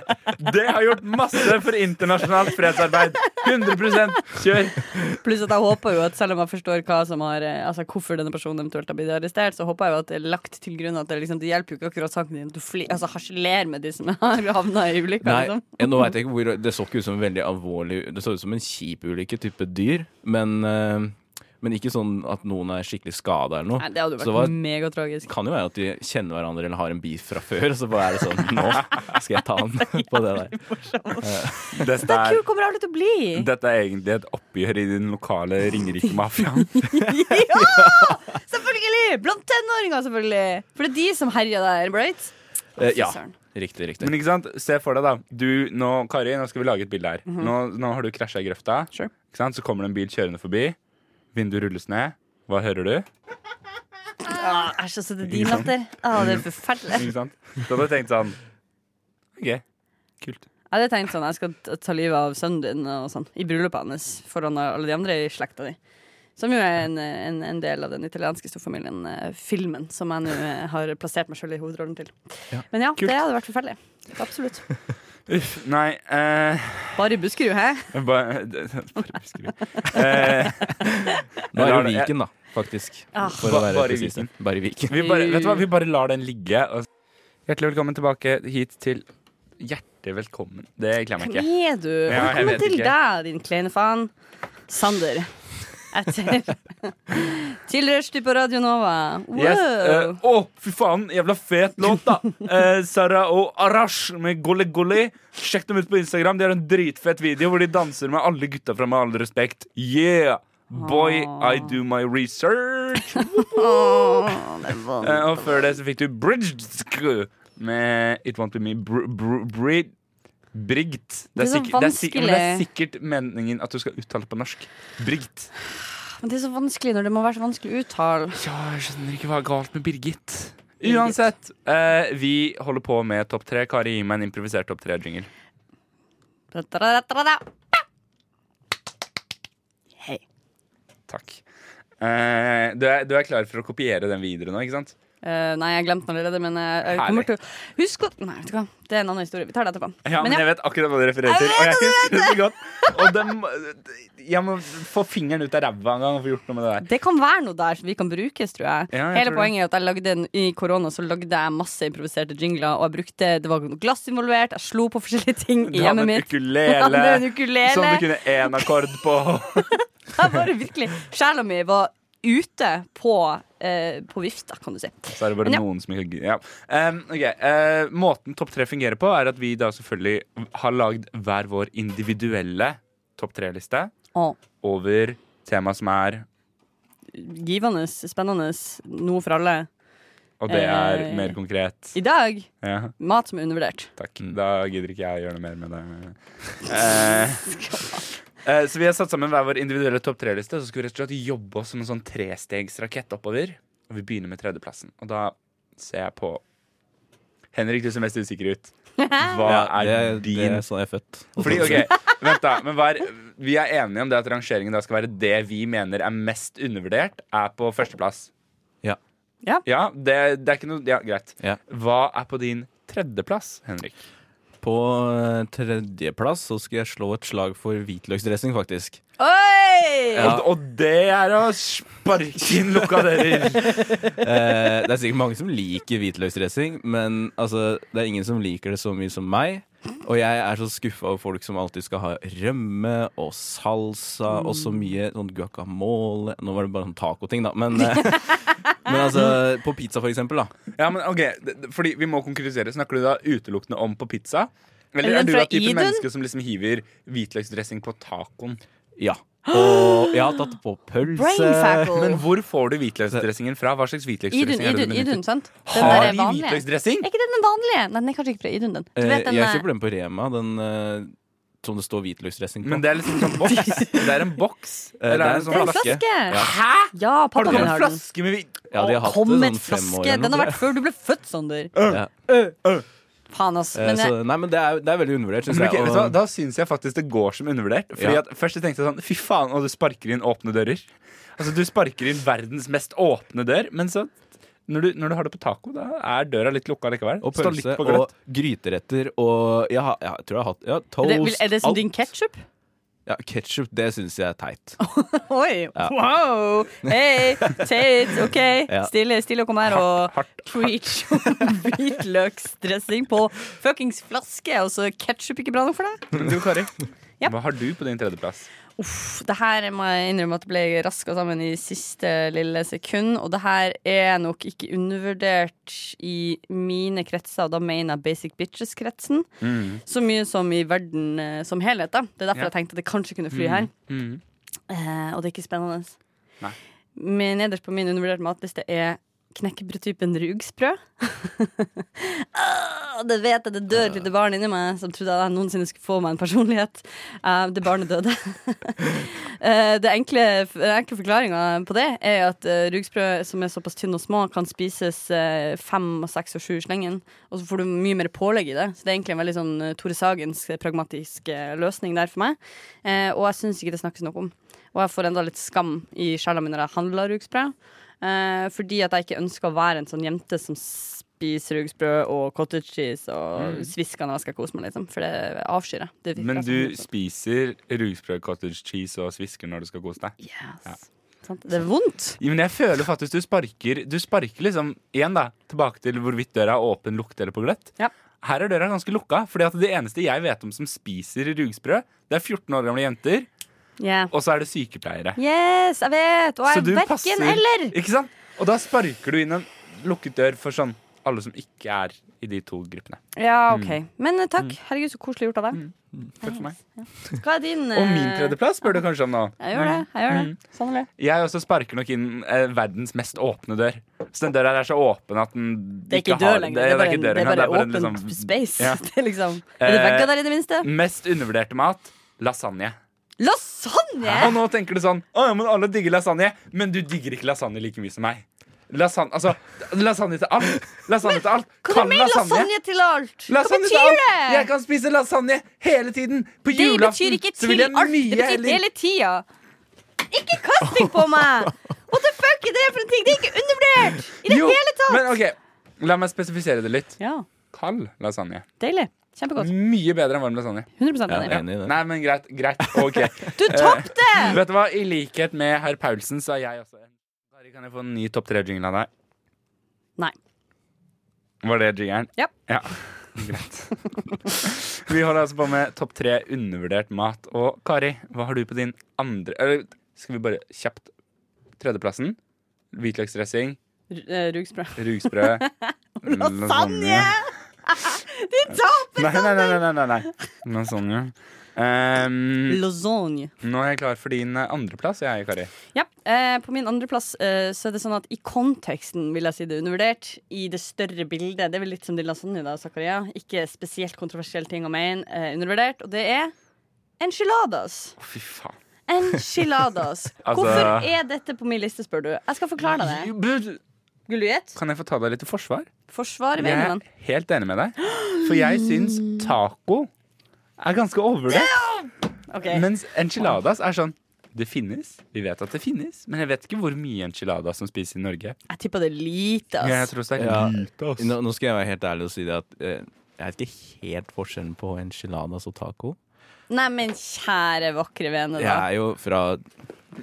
Speaker 2: Det har gjort masse for internasjonalt fredsarbeid. 100 kjør!
Speaker 4: Pluss at jeg håper jo at selv om jeg forstår hva som har, eh, altså hvorfor denne personen eventuelt har blitt arrestert, så håper jeg jo at det er lagt til grunn at det, liksom, det hjelper jo ikke akkurat saken din at du fli, altså, harselerer med de som har havna i ulykka.
Speaker 5: Nei,
Speaker 4: Liksom.
Speaker 5: jeg, nå vet jeg ikke hvor Det så ikke ut som en veldig alvorlig Det så ut som en kjip ulykke type dyr, men, eh, men ikke sånn at noen er skikkelig skada eller
Speaker 4: Nei,
Speaker 5: noe.
Speaker 4: det hadde jo
Speaker 5: Så
Speaker 4: vært
Speaker 5: hva- Det
Speaker 4: megatragisk.
Speaker 5: kan jo være at de kjenner hverandre eller har en beef fra før, og så bare er det sånn Nå skal jeg ta han på det der.
Speaker 2: Dette
Speaker 4: Det er
Speaker 2: er,
Speaker 4: kult kommer alle til å bli!
Speaker 2: dette er egentlig et oppgjør i den lokale Ringerike-mafiaen.
Speaker 4: Ja! Selvfølgelig! Blant tenåringer, selvfølgelig. For det er de som herjer der, right?
Speaker 5: Eh, ja.
Speaker 4: Søren.
Speaker 5: Riktig, riktig.
Speaker 2: Men ikke sant, se for deg da du, nå, Kari, nå skal vi lage et bilde her nå, nå har du krasjet i grøfta
Speaker 4: Sure.
Speaker 2: Ikke sant, så kommer det en bil kjørende forbi Vinduet rulles ned Hva hører du?
Speaker 4: Ah, Æsj, altså, det er din latter. Ah,
Speaker 5: Mm.
Speaker 4: det er forferdelig.
Speaker 2: Ikke sant? Så hadde du tenkt sånn Ok, kult
Speaker 4: Jeg hadde tenkt sånn, jeg skal t- ta livet av sønnen din og sånn, i bryllupet hans foran alle de andre i slekta di. Som jo er en, en, en del av den italienske storfamilien eh, filmen, som jeg nå eh, har plassert meg sjøl i hovedrollen til. Men ja,
Speaker 2: Kult.
Speaker 4: det hadde vært forferdelig. Absolutt.
Speaker 2: Uff, nei eh,
Speaker 4: Bare i Buskerud, hæ?
Speaker 2: bare, bare beskriv eh,
Speaker 5: Nå er
Speaker 2: Eller-
Speaker 5: det Viken, da, faktisk.
Speaker 4: Ah.
Speaker 5: For
Speaker 2: Ba-
Speaker 5: å være
Speaker 2: bare i
Speaker 5: presis.
Speaker 2: Viken.
Speaker 5: Bare i Viken.
Speaker 2: vi bare, Vet du hva, vi bare lar den ligge og... Hjertelig velkommen tilbake hit til Hjertelig velkommen Det glemmer jeg
Speaker 4: Hvem
Speaker 2: ikke
Speaker 4: er du?
Speaker 2: Ja, jeg
Speaker 4: Velkommen
Speaker 2: vet
Speaker 4: til
Speaker 2: ikke.
Speaker 4: deg, din kleine faen. Sander. Etter Til rushtid på Radio Nova. Wow.
Speaker 2: Yes. eh, Å, fy faen, jævla fet låt, da! Eh, Sara og Arash med Golle Golle. Sjekk dem ut på Instagram. De har en dritfett video hvor de danser med alle gutta fra Med all respekt. Yeah! Boy, I do my research. Eh, og før det så fikk du Bridged med It Won't Be Me br br brid Brigt.
Speaker 4: Det er så
Speaker 2: sikkert- det er sikkert- men det er sikkert
Speaker 4: vanskelig.
Speaker 2: meningen at du skal uttale det på norsk. Brigt.
Speaker 4: Men det er så vanskelig når det må være så vanskelig å uttale.
Speaker 2: Ja, jeg skjønner ikke hva er galt med Birgit. Uansett, eh, vi holder på med topp tre. Kari, gi meg en improvisert topp tre-jingle.
Speaker 4: Da-da-da-da-da.
Speaker 2: Takk. Eh, du, er, du er klar for å kopiere den videre nå, ikke sant?
Speaker 4: Eh, nei, jeg glemte den allerede, men eh, jeg, jeg kommer til å Husk å Nei, vet du hva. Det er en annen historie. Vi tar det etterpå.
Speaker 2: Ja, men
Speaker 4: men
Speaker 2: jeg vet akkurat hva du refererer til. Og jeg husker det så godt. Og dem- jeg må få fingeren ut av ræva en gang og få gjort noe med det der.
Speaker 4: Det kan være noe der som vi kan brukes, tror jeg.
Speaker 2: Ja, jeg
Speaker 4: Hele
Speaker 2: tror det.
Speaker 4: poenget er at jeg lagde en, I korona så lagde jeg masse improviserte jingler, og jeg brukte Det var noe glass involvert, jeg slo på forskjellige ting
Speaker 2: Du
Speaker 4: i
Speaker 2: hadde
Speaker 4: hjemmet
Speaker 2: en
Speaker 4: mitt. Jeg
Speaker 2: ukulele, Sånn
Speaker 4: hadde en ukulele.
Speaker 2: som du kunne én akkord på.
Speaker 4: Jeg bare virkelig Sjela mi var ute på, eh, på vifta, kan du si.
Speaker 2: Så er det bare
Speaker 4: Men ja.
Speaker 2: noen som ikke ja. um, ok, eh, Måten topp tre fungerer på, er at vi da selvfølgelig har lagd hver vår individuelle topp tre-liste
Speaker 4: Å,
Speaker 2: over tema som er
Speaker 4: givende, spennende, noe for alle.
Speaker 2: Og det er
Speaker 4: Eh.
Speaker 2: mer konkret.
Speaker 4: I dag
Speaker 2: Ja,
Speaker 4: mat som er undervurdert.
Speaker 2: takk.
Speaker 5: Mm.
Speaker 2: Da gidder ikke jeg å gjøre noe mer med det. Eh, eh, så vi har satt sammen hver vår individuelle topp tre-liste, og så skal vi rett og slett jobbe oss som en sånn trestegsrakett oppover. Og vi begynner med tredjeplassen. Og da ser jeg på Henrik, du ser mest usikker ut. Hva er
Speaker 5: det,
Speaker 2: din
Speaker 5: det er sånn jeg er født.
Speaker 2: Fordi, ok, vent da men hva er, Vi er enige om det at rangeringen da skal være det vi mener er mest undervurdert, er på førsteplass.
Speaker 5: Ja.
Speaker 4: Ja.
Speaker 2: det, det er ikke noe Ja, greit.
Speaker 5: Ja.
Speaker 2: Hva er på din tredjeplass, Henrik?
Speaker 5: På eh, tredjeplass så skal jeg slå et slag for hvitløksdressing, faktisk.
Speaker 4: Oi!
Speaker 5: Ja.
Speaker 2: Og, og det er å sparke inn lukka dører!
Speaker 5: Eh, det er sikkert mange som liker hvitløksdressing, men altså, det er ingen som liker det så mye som meg. Og jeg er så skuffa over folk som alltid skal ha rømme og salsa og så mye sånn guacamole. Nå var det bare sånn tacoting, da. Men, eh, men altså, på pizza, for eksempel, da.
Speaker 2: Ja, men ok, det- det- fordi vi må konkretisere. Snakker du da utelukkende om på pizza? Eller
Speaker 4: Eller
Speaker 2: er du
Speaker 4: fra
Speaker 2: av typen
Speaker 4: Idun?
Speaker 2: menneske som liksom hiver hvitløksdressing på tacoen?
Speaker 5: Ja. Og jeg har tatt på
Speaker 4: Brain
Speaker 5: pølse.
Speaker 4: fackle.
Speaker 2: Men hvor får du hvitløksdressingen fra? Hva slags hvitløksdressing
Speaker 4: Idun,
Speaker 2: er det
Speaker 4: Idun,
Speaker 2: du
Speaker 4: Idun,
Speaker 2: benytter?
Speaker 4: sant? Den
Speaker 2: Har
Speaker 4: der
Speaker 2: de
Speaker 4: vanlige.
Speaker 2: hvitløksdressing?
Speaker 4: Er ikke det den vanlige? Nei, den er kanskje ikke fra Idun, den. Du
Speaker 5: Eh,
Speaker 4: vet den,
Speaker 5: jeg
Speaker 4: eh,
Speaker 5: kjøper den på Rema, den eh, som det står hvitløksdressing på.
Speaker 2: Men det er liksom sånn boks. Det er en boks.
Speaker 5: Eh,
Speaker 2: Eller er det en
Speaker 4: det er
Speaker 2: sånn
Speaker 4: en
Speaker 2: flaske?
Speaker 4: flaske.
Speaker 5: Ja.
Speaker 2: Hæ?
Speaker 4: Ja,
Speaker 2: Har
Speaker 4: pappa
Speaker 2: du kommet
Speaker 4: min
Speaker 2: en
Speaker 4: har den.
Speaker 2: flaske med hvit
Speaker 5: ja, de har hatt
Speaker 4: Kom
Speaker 5: det
Speaker 4: med
Speaker 5: sånn
Speaker 4: en
Speaker 5: fem år.
Speaker 4: flaske!
Speaker 5: eller
Speaker 4: Den har
Speaker 5: noe.
Speaker 4: vært før du ble født, Sander.
Speaker 5: Ja.
Speaker 4: Faen, ass.
Speaker 5: Eh,
Speaker 4: Men
Speaker 5: så,
Speaker 4: jeg,
Speaker 5: nei, men det er, det er veldig undervurdert, syns
Speaker 2: Men
Speaker 5: jeg.
Speaker 2: ok, vet du hva?
Speaker 5: og-
Speaker 2: Da syns jeg faktisk det går som undervurdert. Fordi
Speaker 5: Ja.
Speaker 2: at Først jeg tenkte jeg sånn Fy faen, og du sparker inn åpne dører. Altså Du sparker inn verdens mest åpne dør, men så når du, når du har det på taco, da er døra litt lukka likevel.
Speaker 5: Og
Speaker 2: Står
Speaker 5: pølse
Speaker 2: litt på
Speaker 5: og
Speaker 2: gløtt.
Speaker 5: gryteretter og jeg, har, jeg tror jeg har hatt ja, toast.
Speaker 4: er, det, er det som
Speaker 5: alt.
Speaker 4: din ketsjup?
Speaker 5: Ja, Ketsjup, det syns jeg er teit.
Speaker 4: Oi! Wow! Hei! Tate, OK.
Speaker 5: Ja.
Speaker 4: Stille, stille og kom her og
Speaker 2: Hardt.
Speaker 4: preach om hvitløksdressing på fuckings flaske, og så ketsjup ikke bra nok for deg?
Speaker 2: Du, Kari,
Speaker 4: Ja.
Speaker 2: hva har du på din tredjeplass?
Speaker 4: Uff, det her må jeg innrømme at det ble raska sammen i siste lille sekund. Og det her er nok ikke undervurdert i mine kretser, og da mener jeg Basic Bitches-kretsen.
Speaker 2: Mm.
Speaker 4: Så mye som i verden eh, som helhet, da. Det er derfor
Speaker 2: Ja.
Speaker 4: jeg tenkte at det kanskje kunne fly her.
Speaker 2: Mm.
Speaker 4: Eh, og det er ikke spennende.
Speaker 2: Nei.
Speaker 4: Men nederst på min undervurderte matliste er knekkebrødtypen rugsprø. Ah, det vet jeg, det dør et lite barn inni meg som trodde at jeg noensinne skulle få meg en personlighet. Eh, det barnet døde. Eh, det enkle, den enkle forklaringa på det er at eh, rugsprø som er såpass tynne og små, kan spises eh, fem, og seks og sju i slengen. Og så får du mye mer pålegg i det. Så det er egentlig en veldig sånn eh, Tore Sagens eh, pragmatisk eh, løsning der for meg. Eh, og jeg syns ikke det snakkes noe om. Og jeg får enda litt skam i sjela mi når jeg handler rugsprø. Eh, fordi at jeg ikke ønsker å være en sånn jente som spiser rugsprø og cottage cheese og svisker når jeg skal kose meg, liksom. For det avskyr jeg. Det virker
Speaker 2: Mm. Men
Speaker 4: som sånn-
Speaker 2: du
Speaker 4: noe sånt.
Speaker 2: spiser rugsprø, cottage cheese og svisker når du skal kose deg?
Speaker 4: yes.
Speaker 2: Ja.
Speaker 4: Sant? Det er vondt.
Speaker 2: Ja, men jeg føler faktisk du sparker Du sparker liksom, igjen da, tilbake til hvorvidt døra er åpen, lukt eller på gløtt.
Speaker 4: Ja.
Speaker 2: Her er døra ganske lukka, Fordi at det eneste jeg vet om som spiser rugsprø, det er 14 år gamle jenter
Speaker 4: Yeah.
Speaker 2: og så er det sykepleiere.
Speaker 4: Yes, jeg vet! Og
Speaker 2: Så
Speaker 4: jeg
Speaker 2: du
Speaker 4: er
Speaker 2: passer-
Speaker 4: verken eller!
Speaker 2: Ikke sant? Og da sparker du inn en lukket dør for sånn alle som ikke er i de to gruppene.
Speaker 4: Ja,
Speaker 2: Mm.
Speaker 4: OK. Men eh, takk. Herregud, så koselig gjort av deg.
Speaker 2: Takk for meg.
Speaker 4: Hva er Mm. din
Speaker 2: Og min
Speaker 4: eh,
Speaker 2: tredjeplass spør du kanskje om nå. Mm.
Speaker 4: Jeg gjør det. jeg gjør Sånn det Sannelig.
Speaker 2: Jeg også sparker nok inn eh, verdens mest åpne dør. Så den døra her er så åpen at den
Speaker 4: Det er ikke dør lenger.
Speaker 2: Det,
Speaker 4: Det er bare,
Speaker 2: ikke dør
Speaker 4: det
Speaker 2: engang,
Speaker 4: er bare
Speaker 2: det er bare en liksom-
Speaker 4: åpent space.
Speaker 2: Ja. Eh, mm.
Speaker 4: Det er liksom Er det vegger der i det minste?
Speaker 2: Mest undervurderte mat lasagne. Og
Speaker 4: Lasagne!
Speaker 2: nå tenker du sånn Å ja, men alle digger lasagne. Men du digger ikke lasagne like mye som meg. Lasagne, altså, lasagne til alt. Lasagne til alt.
Speaker 4: Hva du mener lasagne til alt? Hva
Speaker 2: Lasagne til
Speaker 4: betyr
Speaker 2: alt.
Speaker 4: det?
Speaker 2: Jeg kan spise lasagne hele tiden. På
Speaker 4: Det
Speaker 2: julaften
Speaker 4: betyr ikke
Speaker 2: så vil
Speaker 4: til
Speaker 2: jeg
Speaker 4: alt. Det
Speaker 2: mye
Speaker 4: betyr
Speaker 2: heller-
Speaker 4: hele tida. Ikke kasting på meg! What the fuck er det for en ting? Det er ikke undervurdert i det
Speaker 2: Jo,
Speaker 4: hele tatt.
Speaker 2: Men ok, La meg spesifisere det litt.
Speaker 4: Ja,
Speaker 2: Kald lasagne.
Speaker 4: deilig. Kjempegodt.
Speaker 2: Mye bedre enn varm lasagne.
Speaker 4: 100
Speaker 5: Jeg er
Speaker 4: enig.
Speaker 5: enig i det.
Speaker 2: Nei, men greit. greit, ok Eh,
Speaker 4: Du tapte!
Speaker 2: Vet du hva, I likhet med herr Paulsen så er jeg også en Kari, kan jeg få en ny topp tre-jingle av deg?
Speaker 4: Nei.
Speaker 2: Var det jingeren?
Speaker 4: Ja.
Speaker 2: ja. Greit. Vi holder altså på med topp tre undervurdert mat. Og Kari, hva har du på din andre Eller skal vi bare kjapt Tredjeplassen? Hvitløksdressing,
Speaker 4: Rugsprø.
Speaker 2: rugsprø
Speaker 4: Lasagne! De taper!
Speaker 2: Nei, nei, nei. nei, nei, nei. Lasagne. Ehm,
Speaker 4: Lasagne.
Speaker 2: nå er jeg klar for din eh, andreplass, jeg, Kari.
Speaker 4: Ja, eh, På min andreplass eh, så er det sånn at i konteksten vil jeg si det er undervurdert. I det større bildet. Det er vel litt som din lasagne, da, Zakaria. Ikke spesielt kontroversiell ting å mene. Eh, undervurdert. Og det er enchiladas.
Speaker 2: Å, fy faen.
Speaker 4: Enchiladas.
Speaker 2: Altså-
Speaker 4: Hvorfor er dette på min liste, spør du? Jeg skal forklare deg det.
Speaker 2: Bud-
Speaker 4: Vil du gjette?
Speaker 2: Kan jeg få ta deg litt til forsvar?
Speaker 4: Forsvar
Speaker 2: Jeg er
Speaker 4: vennen.
Speaker 2: helt enig med deg. For jeg syns taco er ganske overvurdert.
Speaker 4: Ok,
Speaker 2: Mens enchiladas er sånn Det finnes, vi vet at det finnes, men jeg vet ikke hvor mye enchiladas som spises i Norge.
Speaker 4: Jeg tipper det er lite,
Speaker 2: Ja, jeg
Speaker 4: ass.
Speaker 2: tror også det er
Speaker 5: Ja.
Speaker 2: lite, ass.
Speaker 5: Nå, nå skal jeg være helt ærlig og si det at eh, jeg vet ikke helt forskjellen på enchiladas og taco.
Speaker 4: Nei, men kjære, vakre vene,
Speaker 5: Jeg
Speaker 4: da.
Speaker 5: er jo fra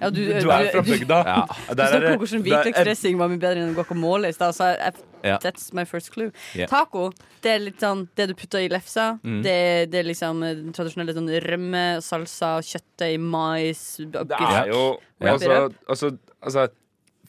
Speaker 4: Ja, du,
Speaker 2: Du er fra
Speaker 4: du-
Speaker 2: bygda.
Speaker 5: Ja.
Speaker 4: Du
Speaker 2: Der er
Speaker 4: snakket
Speaker 2: det-
Speaker 4: om hvordan
Speaker 2: der er-
Speaker 4: hvitløksdressing var mye bedre enn guacamole i stad. Så jeg,
Speaker 5: Ja.
Speaker 4: that's my first clue.
Speaker 5: Ja.
Speaker 4: Taco det er litt sånn det du putter i lefsa.
Speaker 2: Mm.
Speaker 4: Det, det er liksom eh, den tradisjonelle sånn rømme, salsa, kjøttdeig, mais
Speaker 2: Det er jo
Speaker 4: Ja.
Speaker 2: altså, altså, altså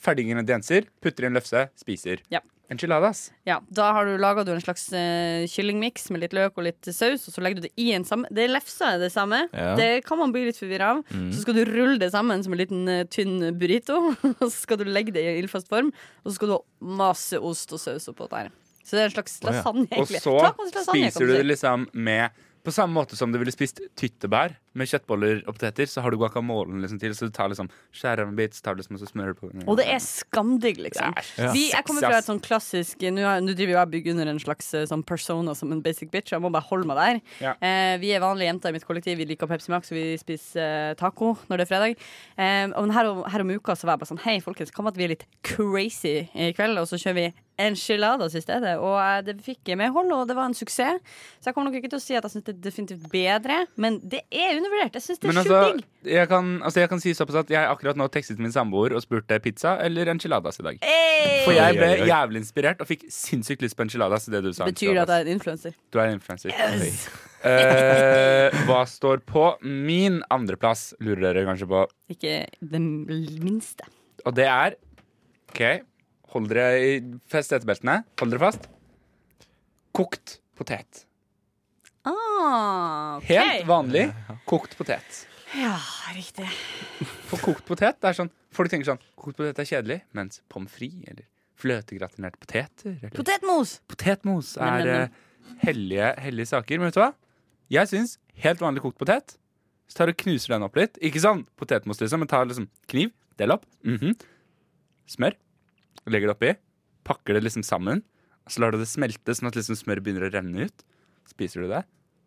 Speaker 2: Ferdigingredienser, putter i en løfse, spiser.
Speaker 4: Ja.
Speaker 2: Enchiladas.
Speaker 4: Ja, Da har du laga en slags eh, kyllingmiks med litt løk og litt saus, og så legger du det i en samme Det er lefsa er det samme.
Speaker 5: Ja.
Speaker 4: Det kan man bli litt forvirra av.
Speaker 2: Mm.
Speaker 4: Så skal du rulle det sammen som en liten eh, tynn burrito. Og så skal du legge det i ildfast form, og så skal du ha masse ost og saus oppå der. Så det er en slags
Speaker 5: ja.
Speaker 4: lasagne,
Speaker 2: Og
Speaker 4: egentlig.
Speaker 2: så
Speaker 4: Tacos lasagne,
Speaker 2: spiser
Speaker 4: kan
Speaker 2: du
Speaker 4: si.
Speaker 2: det liksom med På samme måte som du ville spist tyttebær med kjøttboller og poteter, så har du guacamolen liksom til, så du tar liksom skjærer av en bit, så tar du liksom, og så smører du på.
Speaker 4: Og det er skamdigg, liksom.
Speaker 5: Ja.
Speaker 4: Vi, jeg kommer fra et sånn klassisk Nå har- nå driver jo jeg og bygger under en slags eh, sånn persona som en basic bitch. Jeg må bare holde meg der.
Speaker 2: Ja.
Speaker 4: Eh, vi er vanlige jenter i mitt kollektiv. Vi liker Pepsi Max, og vi spiser eh, taco når det er fredag. Eh, og her, om- her om uka så var jeg bare sånn Hei, folkens, kan være at vi er litt crazy i kveld? Og så kjører vi enchiladas i stedet. Og eh, det fikk medhold, og det var en suksess. Så jeg kommer nok ikke til å si at jeg syns det er definitivt bedre, men det er undervurdert. Jeg syns det er
Speaker 2: Men
Speaker 4: sjukt
Speaker 2: altså,
Speaker 4: digg.
Speaker 2: jeg kan, altså, jeg kan si såpass at jeg akkurat nå tekstet min samboer og spurte pizza eller enchiladas i dag.
Speaker 4: Hey!
Speaker 2: For jeg ble
Speaker 5: Oi, oi, oi.
Speaker 2: jævlig inspirert og fikk sinnssykt lyst på enchiladas. Det du sa
Speaker 4: Betyr det at jeg er en influenser?
Speaker 2: Du er en influenser. Eh, hva står på min andreplass, lurer dere kanskje på.
Speaker 4: Ikke det minste.
Speaker 2: Og det er OK, hold dere i fest setebeltene. Hold dere fast. Kokt potet.
Speaker 4: Ah, ok.
Speaker 2: Helt vanlig kokt potet.
Speaker 4: Ja, riktig.
Speaker 2: For kokt potet det er sånn Folk tenker sånn Kokt potet er kjedelig, mens pommes frites eller fløtegratinerte poteter eller
Speaker 4: Potetmos!
Speaker 2: potetmos
Speaker 4: Nei,
Speaker 2: er
Speaker 4: men-
Speaker 2: eh, hellige, hellige saker. Men vet du hva? Jeg syns helt vanlig kokt potet Så tar du og knuser den opp litt. Ikke sånn potetmos, liksom, men tar liksom kniv, del opp. mhm, Smør. Legger det oppi. Pakker det liksom sammen. Og så lar du det smelte, sånn at liksom smøret begynner å renne ut. Spiser du det?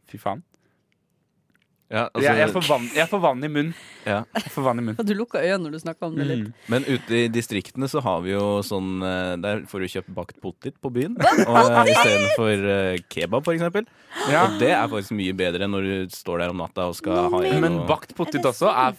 Speaker 2: Fy faen.
Speaker 5: ja, altså,
Speaker 2: Jeg, jeg, får, vann, jeg får vann i munnen.
Speaker 5: ja.
Speaker 2: Jeg får vann i munnen.
Speaker 4: Du lukka øynene når du snakka om det
Speaker 2: Mm.
Speaker 4: litt.
Speaker 5: Men ute i distriktene så har vi jo sånn eh, Der får du kjøpt bakt potet på byen. Og eh, Istedenfor eh, kebab, for eksempel.
Speaker 2: Ja.
Speaker 5: Og det er faktisk mye bedre enn når du står der om natta og skal ha igjen
Speaker 2: Men
Speaker 5: noe-
Speaker 4: sånn?
Speaker 2: bakt potet også er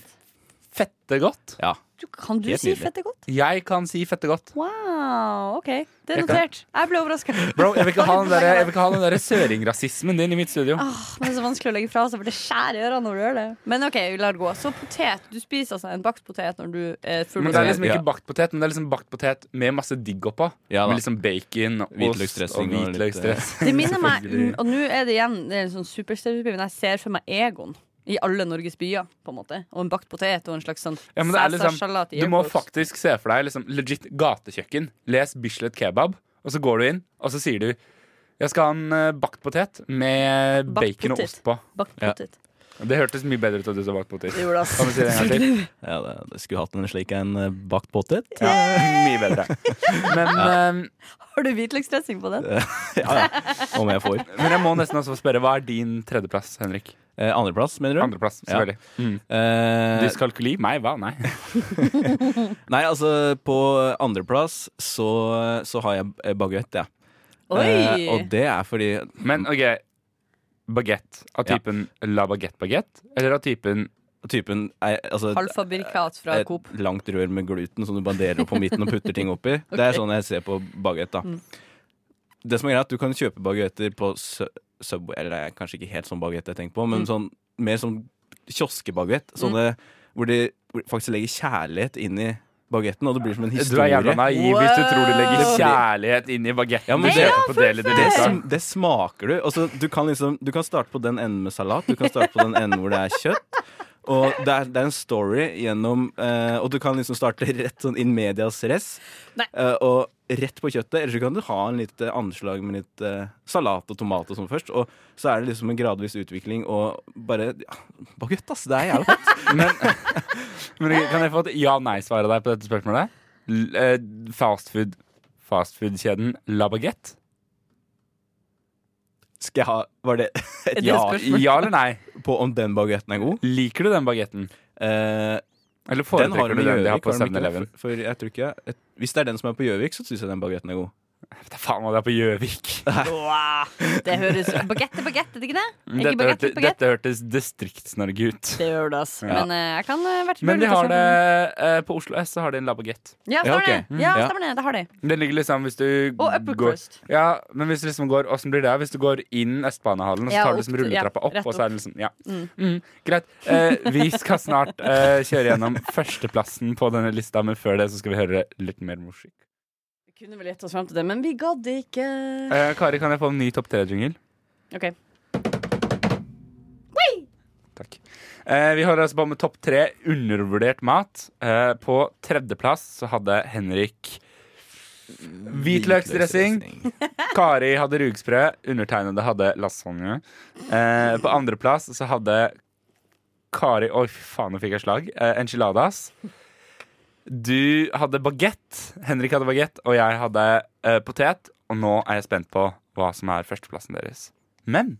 Speaker 2: fette godt.
Speaker 5: Ja.
Speaker 4: Du, kan du
Speaker 5: Helt
Speaker 4: si
Speaker 5: nydelig.
Speaker 4: fette godt?
Speaker 2: Jeg kan si fette godt.
Speaker 4: Wow, OK. Det er
Speaker 2: Jeg kan-
Speaker 4: notert. Jeg ble overraska.
Speaker 2: Bro, jeg vil ikke ha den der, jeg vil ikke ha den der søringrasismen din i mitt
Speaker 4: Ah,
Speaker 2: studio.
Speaker 4: Det er så vanskelig å legge fra seg, for det skjærer i ørene når du gjør det. Men OK, vi lar det gå. Så potet. Du spiser altså en bakt potet når du er full.
Speaker 2: Men det er liksom
Speaker 5: Ja.
Speaker 2: ikke bakt potet, men det er liksom bakt potet med masse digg oppå.
Speaker 5: Ja da.
Speaker 2: med liksom bacon, ost og
Speaker 5: Hvitløksdressing og litt, eh,
Speaker 2: hvitløksdress.
Speaker 4: Det minner meg
Speaker 2: Selvfølgelig.
Speaker 4: Og nå er det igjen Det er en sånn superstereotypi, men jeg ser for meg Egon. I alle Norges byer, på en måte. Og en bakt potet og en slags sånn
Speaker 2: Ja, men det er liksom,
Speaker 4: Cæsarsalat i
Speaker 2: du må
Speaker 4: Egon.
Speaker 2: faktisk se for deg liksom, legit gatekjøkken. Les Bislett kebab, og så går du inn, og så sier du jeg skal ha en eh, bakt potet med
Speaker 4: Bakt
Speaker 2: bacon og
Speaker 4: potet.
Speaker 2: ost på.
Speaker 4: Bakt
Speaker 5: Ja.
Speaker 4: potet.
Speaker 2: Det hørtes mye bedre ut at du sa bakt potet.
Speaker 4: Det gjorde det, ass.
Speaker 2: Kan vi si det en gang til?
Speaker 5: Ja, det, det skulle hatt en slik en eh, bakt potet.
Speaker 2: Ja, mye bedre. Men, eh,
Speaker 4: Har du hvitløksdressing på den?
Speaker 5: Ja, ja. Om jeg får.
Speaker 2: men jeg må nesten også få spørre, hva er din tredjeplass, Henrik?
Speaker 5: Eh, andreplass, mener du?
Speaker 2: Andreplass,
Speaker 5: Ja.
Speaker 2: selvfølgelig. Mm.
Speaker 5: Eh,
Speaker 2: Dyskalkuli? Meg? Hva? Nei.
Speaker 5: Nei, altså, på andreplass så, så har jeg eh, baguette, jeg.
Speaker 4: Oi!
Speaker 5: Eh, og det er fordi
Speaker 2: Men OK. Bagett av typen la baguette-bagett, eller av typen
Speaker 5: typen er altså,
Speaker 4: Halvfabrikat fra
Speaker 5: et
Speaker 4: Coop.
Speaker 5: langt rør med gluten som du banderer opp på midten og putter ting oppi. Det er sånn jeg ser på baguett, da.
Speaker 4: Mm.
Speaker 5: Det som er greit, du kan kjøpe baguetter på Su- Subway Eller det er kanskje ikke helt sånn baguett jeg tenker på,
Speaker 4: Mm.
Speaker 5: men sånn, mer sånn kioskebaguett. Sånne hvor de hvor de faktisk legger kjærlighet inn i bagetten, og det blir som en
Speaker 2: Du er jævla
Speaker 5: historie.
Speaker 2: naiv hvis du tror du legger
Speaker 4: Wow.
Speaker 2: kjærlighet inn i bagetten.
Speaker 5: Ja, men
Speaker 2: du
Speaker 5: det-
Speaker 2: kjøper på det litt i
Speaker 5: Det,
Speaker 2: lista.
Speaker 5: sm det smaker du. Altså, du, kan liksom, du kan starte på den enden med salat, du kan starte på den enden hvor det er kjøtt. Og det er, det er en story gjennom eh, Og du kan liksom starte rett sånn in medias res.
Speaker 4: Nei.
Speaker 5: eh, og rett på kjøttet. Eller så kan du ha en litt eh, anslag med litt eh, salat og tomat og sånn først. Og så er det liksom en gradvis utvikling og bare ja, Baguett, ass. Det er jævla godt.
Speaker 2: Men, men kan jeg få et ja-nei-svar av deg på dette spørsmålet? L- eh, Fastfood Fastfood-kjeden La Baguette?
Speaker 5: Skal jeg ha Var det
Speaker 4: Er
Speaker 5: et
Speaker 4: det
Speaker 5: ja
Speaker 4: et spørsmål?
Speaker 2: Ja eller nei?
Speaker 5: på om den baguetten er god?
Speaker 2: Liker du den bagetten?
Speaker 5: Eh,
Speaker 2: Eller
Speaker 5: den har
Speaker 2: foretrekker
Speaker 5: de
Speaker 2: du
Speaker 5: i
Speaker 2: den de har
Speaker 5: Gjøvik,
Speaker 2: på
Speaker 5: har de ikke det?
Speaker 2: 7-Eleven?
Speaker 5: For- for jeg tror ikke jeg- Hvis det er den som er på Gjøvik, så syns jeg den baguetten er god.
Speaker 2: Vet da Faen hva det er på Gjøvik.
Speaker 4: Det høres Bagette, bagette, er det ikke det? Ikke
Speaker 2: Dette,
Speaker 4: bagette,
Speaker 2: hørte,
Speaker 4: bagette.
Speaker 2: dette hørtes Distrikts-Norge ut.
Speaker 4: Det gjør det, ass.
Speaker 2: Ja.
Speaker 4: Men eh, jeg kan uh, vært
Speaker 2: Men de
Speaker 4: mulig å
Speaker 2: har
Speaker 4: kjøpe
Speaker 2: det
Speaker 4: den.
Speaker 2: eh, på Oslo S, så har de en La Baguette.
Speaker 4: Ja,
Speaker 5: Ja,
Speaker 4: stemmer
Speaker 5: Mm, ok.
Speaker 4: det. Ja,
Speaker 5: Mm.
Speaker 4: stemmer det. Det har de.
Speaker 2: Den ligger liksom hvis du
Speaker 4: Og upper
Speaker 2: går
Speaker 4: crust.
Speaker 2: Ja, men hvis du liksom går Åssen blir det? Hvis du går inn Østbanehallen, og så
Speaker 4: Ja,
Speaker 2: tar du
Speaker 4: opp
Speaker 2: liksom
Speaker 4: til- ja,
Speaker 2: rulletrappa opp,
Speaker 4: rett
Speaker 2: og så er det liksom Ja. Mm, greit. Eh, vi skal snart eh, kjøre gjennom førsteplassen på denne lista, men før det så skal vi høre litt mer musikk.
Speaker 4: Vi kunne vel gjette oss fram til det, men vi gadd ikke.
Speaker 2: Eh, Kari, kan jeg få en ny topp tre-jingle?
Speaker 4: OK.
Speaker 2: Takk. Eh, vi holder altså på med topp tre undervurdert mat. Eh, på tredjeplass så hadde Henrik Hvitløksdressing. Kari hadde rugsprø, undertegnede hadde lasagne. Eh, på andreplass så hadde Kari Oi, fy faen, nå fikk jeg slag. Eh, enchiladas. Du hadde bagett. Henrik hadde bagett, og jeg hadde eh, potet. Og nå er jeg spent på hva som er førsteplassen deres. Men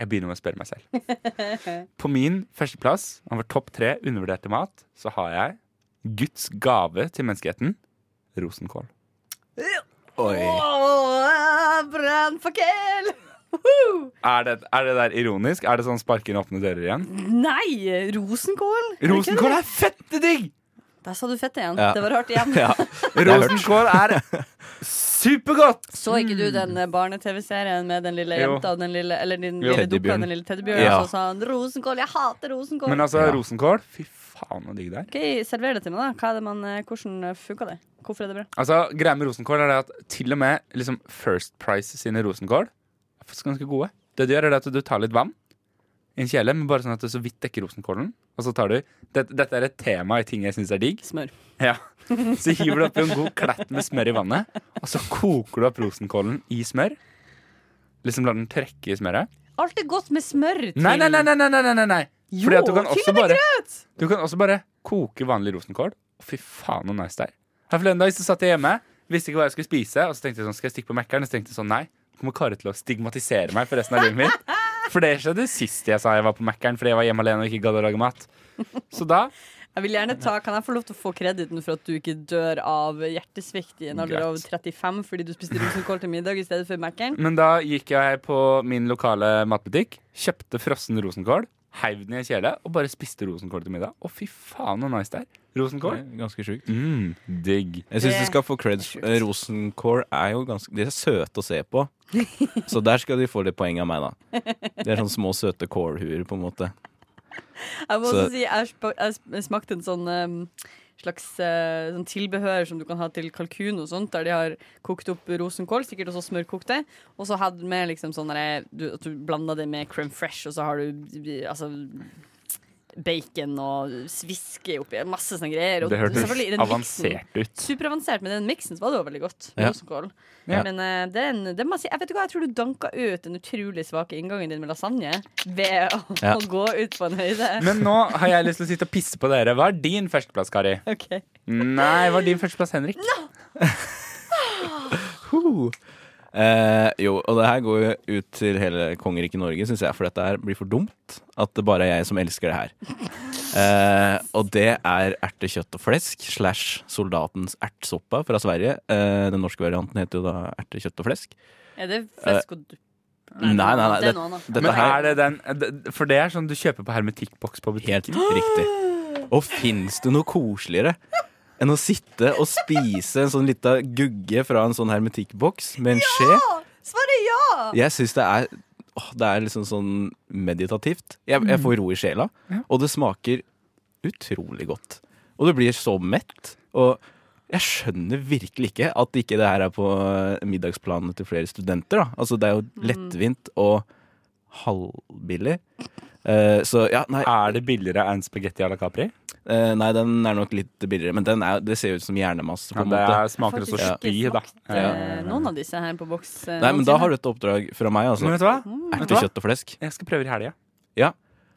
Speaker 2: jeg begynner med å spørre meg selv. På min førsteplass, over topp tre undervurderte mat, så har jeg Guds gave til menneskeheten rosenkål.
Speaker 5: Oi.
Speaker 4: Åh, Brannfakkel!
Speaker 2: Er det, er det der ironisk? Er det sånn sparke inn åpne dører igjen?
Speaker 4: Nei! Rosenkål?
Speaker 2: Rosenkål er fette digg!
Speaker 4: Der sa du fett igjen.
Speaker 5: Ja.
Speaker 4: Det var rart igjen.
Speaker 5: Ja.
Speaker 2: Rosenkål er supergodt!
Speaker 4: Så ikke du den eh, barne-TV-serien med den lille
Speaker 2: Jo.
Speaker 4: jenta og den lille Eller den
Speaker 2: Jo.
Speaker 4: lille dukka
Speaker 5: Teddybjørn.
Speaker 4: og den lille teddybjørnen?
Speaker 5: Ja.
Speaker 4: Og så sa han 'Rosenkål, jeg hater rosenkål'.
Speaker 2: Men altså,
Speaker 5: Ja.
Speaker 2: rosenkål Fy faen, så digg det er.
Speaker 4: OK, server det til meg, da. Hva er det man, eh, hvordan eh, funker det? Hvorfor er det bra?
Speaker 2: Altså, Greia med rosenkål er det at til og med liksom First Price sine rosenkål er faktisk ganske gode. Det du gjør, er det at du tar litt vann i en kjele, men bare sånn at det så vidt dekker rosenkålen. Og så tar du Dette, dette er et tema i ting jeg syns er digg.
Speaker 4: Smør.
Speaker 2: Ja. Så hiver du oppi en god klatt med smør i vannet, og så koker du opp rosenkålen i smør. Liksom lar den trekke i smøret.
Speaker 4: Alt er godt med smør til.
Speaker 2: Nei, nei, nei, nei, nei, nei, nei, nei.
Speaker 4: Jo,
Speaker 2: Fordi at du kan
Speaker 4: til
Speaker 2: også
Speaker 4: og med
Speaker 2: bare Du kan også bare koke vanlig rosenkål. Å, Fy faen, så nice det er. Her forleden dag så satt jeg hjemme, visste ikke hva jeg skulle spise, og så tenkte jeg sånn, skal jeg stikke på Mækkern? Og så tenkte jeg sånn, nei, nå kommer Kari til å stigmatisere meg for resten av livet mitt. For det skjedde sist jeg sa jeg var på Mækkern fordi jeg var hjemme alene og ikke gadd å lage mat. Så da
Speaker 4: Jeg vil gjerne ta, Kan jeg få lov til å få krediten for at du ikke dør av hjertesvikt i en alder
Speaker 2: Greit.
Speaker 4: av 35 fordi du spiste rosenkål til middag i stedet for Mækkern?
Speaker 2: Men da gikk jeg på min lokale matbutikk, kjøpte frossen rosenkål, heiv den i en kjele og bare spiste rosenkål til middag. Å, fy faen, så nice det er. Rosenkål.
Speaker 5: Ganske sjukt.
Speaker 2: Mm, digg.
Speaker 5: Jeg syns
Speaker 4: Det
Speaker 5: du skal få creds.
Speaker 4: sjukt.
Speaker 5: Eh, Rosenkål er jo ganske De er søte å se på. Så der skal de få litt poeng av meg, da. De er sånne små, søte kålhuer, på en måte.
Speaker 4: Jeg må
Speaker 5: Så-
Speaker 4: også si, jeg, spa- jeg sp- jeg smakte en sånn um, slags eh, sånn tilbehør som du kan ha til kalkun og sånt, der de har kokt opp rosenkål, sikkert også smørkokt det, og så hadde med liksom sånn derre- du, at du blanda det med crème fresh, og så har du b- altså bacon og sviske oppi, masse sånne greier. Og
Speaker 2: Det
Speaker 4: selvfølgelig i
Speaker 2: hørtes
Speaker 4: den miksen-
Speaker 2: avansert ut.
Speaker 4: Superavansert, men den miksen så var det jo veldig godt.
Speaker 5: Ja.
Speaker 4: Rosenkål.
Speaker 5: Ja.
Speaker 4: Men eh, den, den må jeg si, jeg vet ikke hva, jeg tror du danka ut den utrolig svake inngangen din med lasagne ved å,
Speaker 5: Ja.
Speaker 4: å gå ut på en høyde.
Speaker 2: Men nå har jeg lyst til å sitte og pisse på dere. Hva er din førsteplass, Kari?
Speaker 4: Ok.
Speaker 2: Nei, hva er din førsteplass, Henrik?
Speaker 5: Eh, jo, og det her går jo ut til hele kongeriket Norge, syns jeg, for dette her blir for dumt. At det bare er jeg som elsker det her. Eh, og det er ertekjøtt og flesk slash soldatens ertsoppa fra Sverige. Eh, den norske varianten heter jo da ertekjøtt og flesk.
Speaker 4: Er det flesk og dupp?
Speaker 5: Nei, nei,
Speaker 4: Det
Speaker 5: nei. Det,
Speaker 4: er noe annet.
Speaker 5: dette
Speaker 2: Men
Speaker 5: her
Speaker 2: er det den, det- for det er sånn du kjøper på hermetikkboks på butikken.
Speaker 5: Helt riktig. Og fins det noe koseligere enn å sitte og spise en sånn lita gugge fra en sånn hermetikkboks med en skje?
Speaker 4: Svaret er ja!
Speaker 5: Jeg syns det er åh, Det er liksom sånn meditativt. Jeg, jeg får ro i sjela, og det smaker utrolig godt. Og du blir så mett. Og jeg skjønner virkelig ikke at ikke det her er på eh, middagsplanene til flere studenter. Da. Altså,
Speaker 4: Mm.
Speaker 5: det er jo lettvint og halvbillig. Eh, så ja, nei,
Speaker 2: Er det billigere enn spagetti à la Capri?
Speaker 5: Eh, nei, den er nok litt billigere, men den er, det ser jo ut som hjernemasse. på en
Speaker 2: det
Speaker 5: måte.
Speaker 2: er, smaker også
Speaker 4: Faktisk
Speaker 2: spy,
Speaker 4: ikke
Speaker 2: da.
Speaker 4: smakt, eh,
Speaker 2: Ja.
Speaker 4: Noen av disse her på boks. eh,
Speaker 5: Nei, men da
Speaker 4: noensinne.
Speaker 5: har du et oppdrag fra meg. altså
Speaker 2: Men vet du hva? Vet du hva?
Speaker 5: Ertekjøtt og flesk.
Speaker 2: Jeg skal prøve i helga.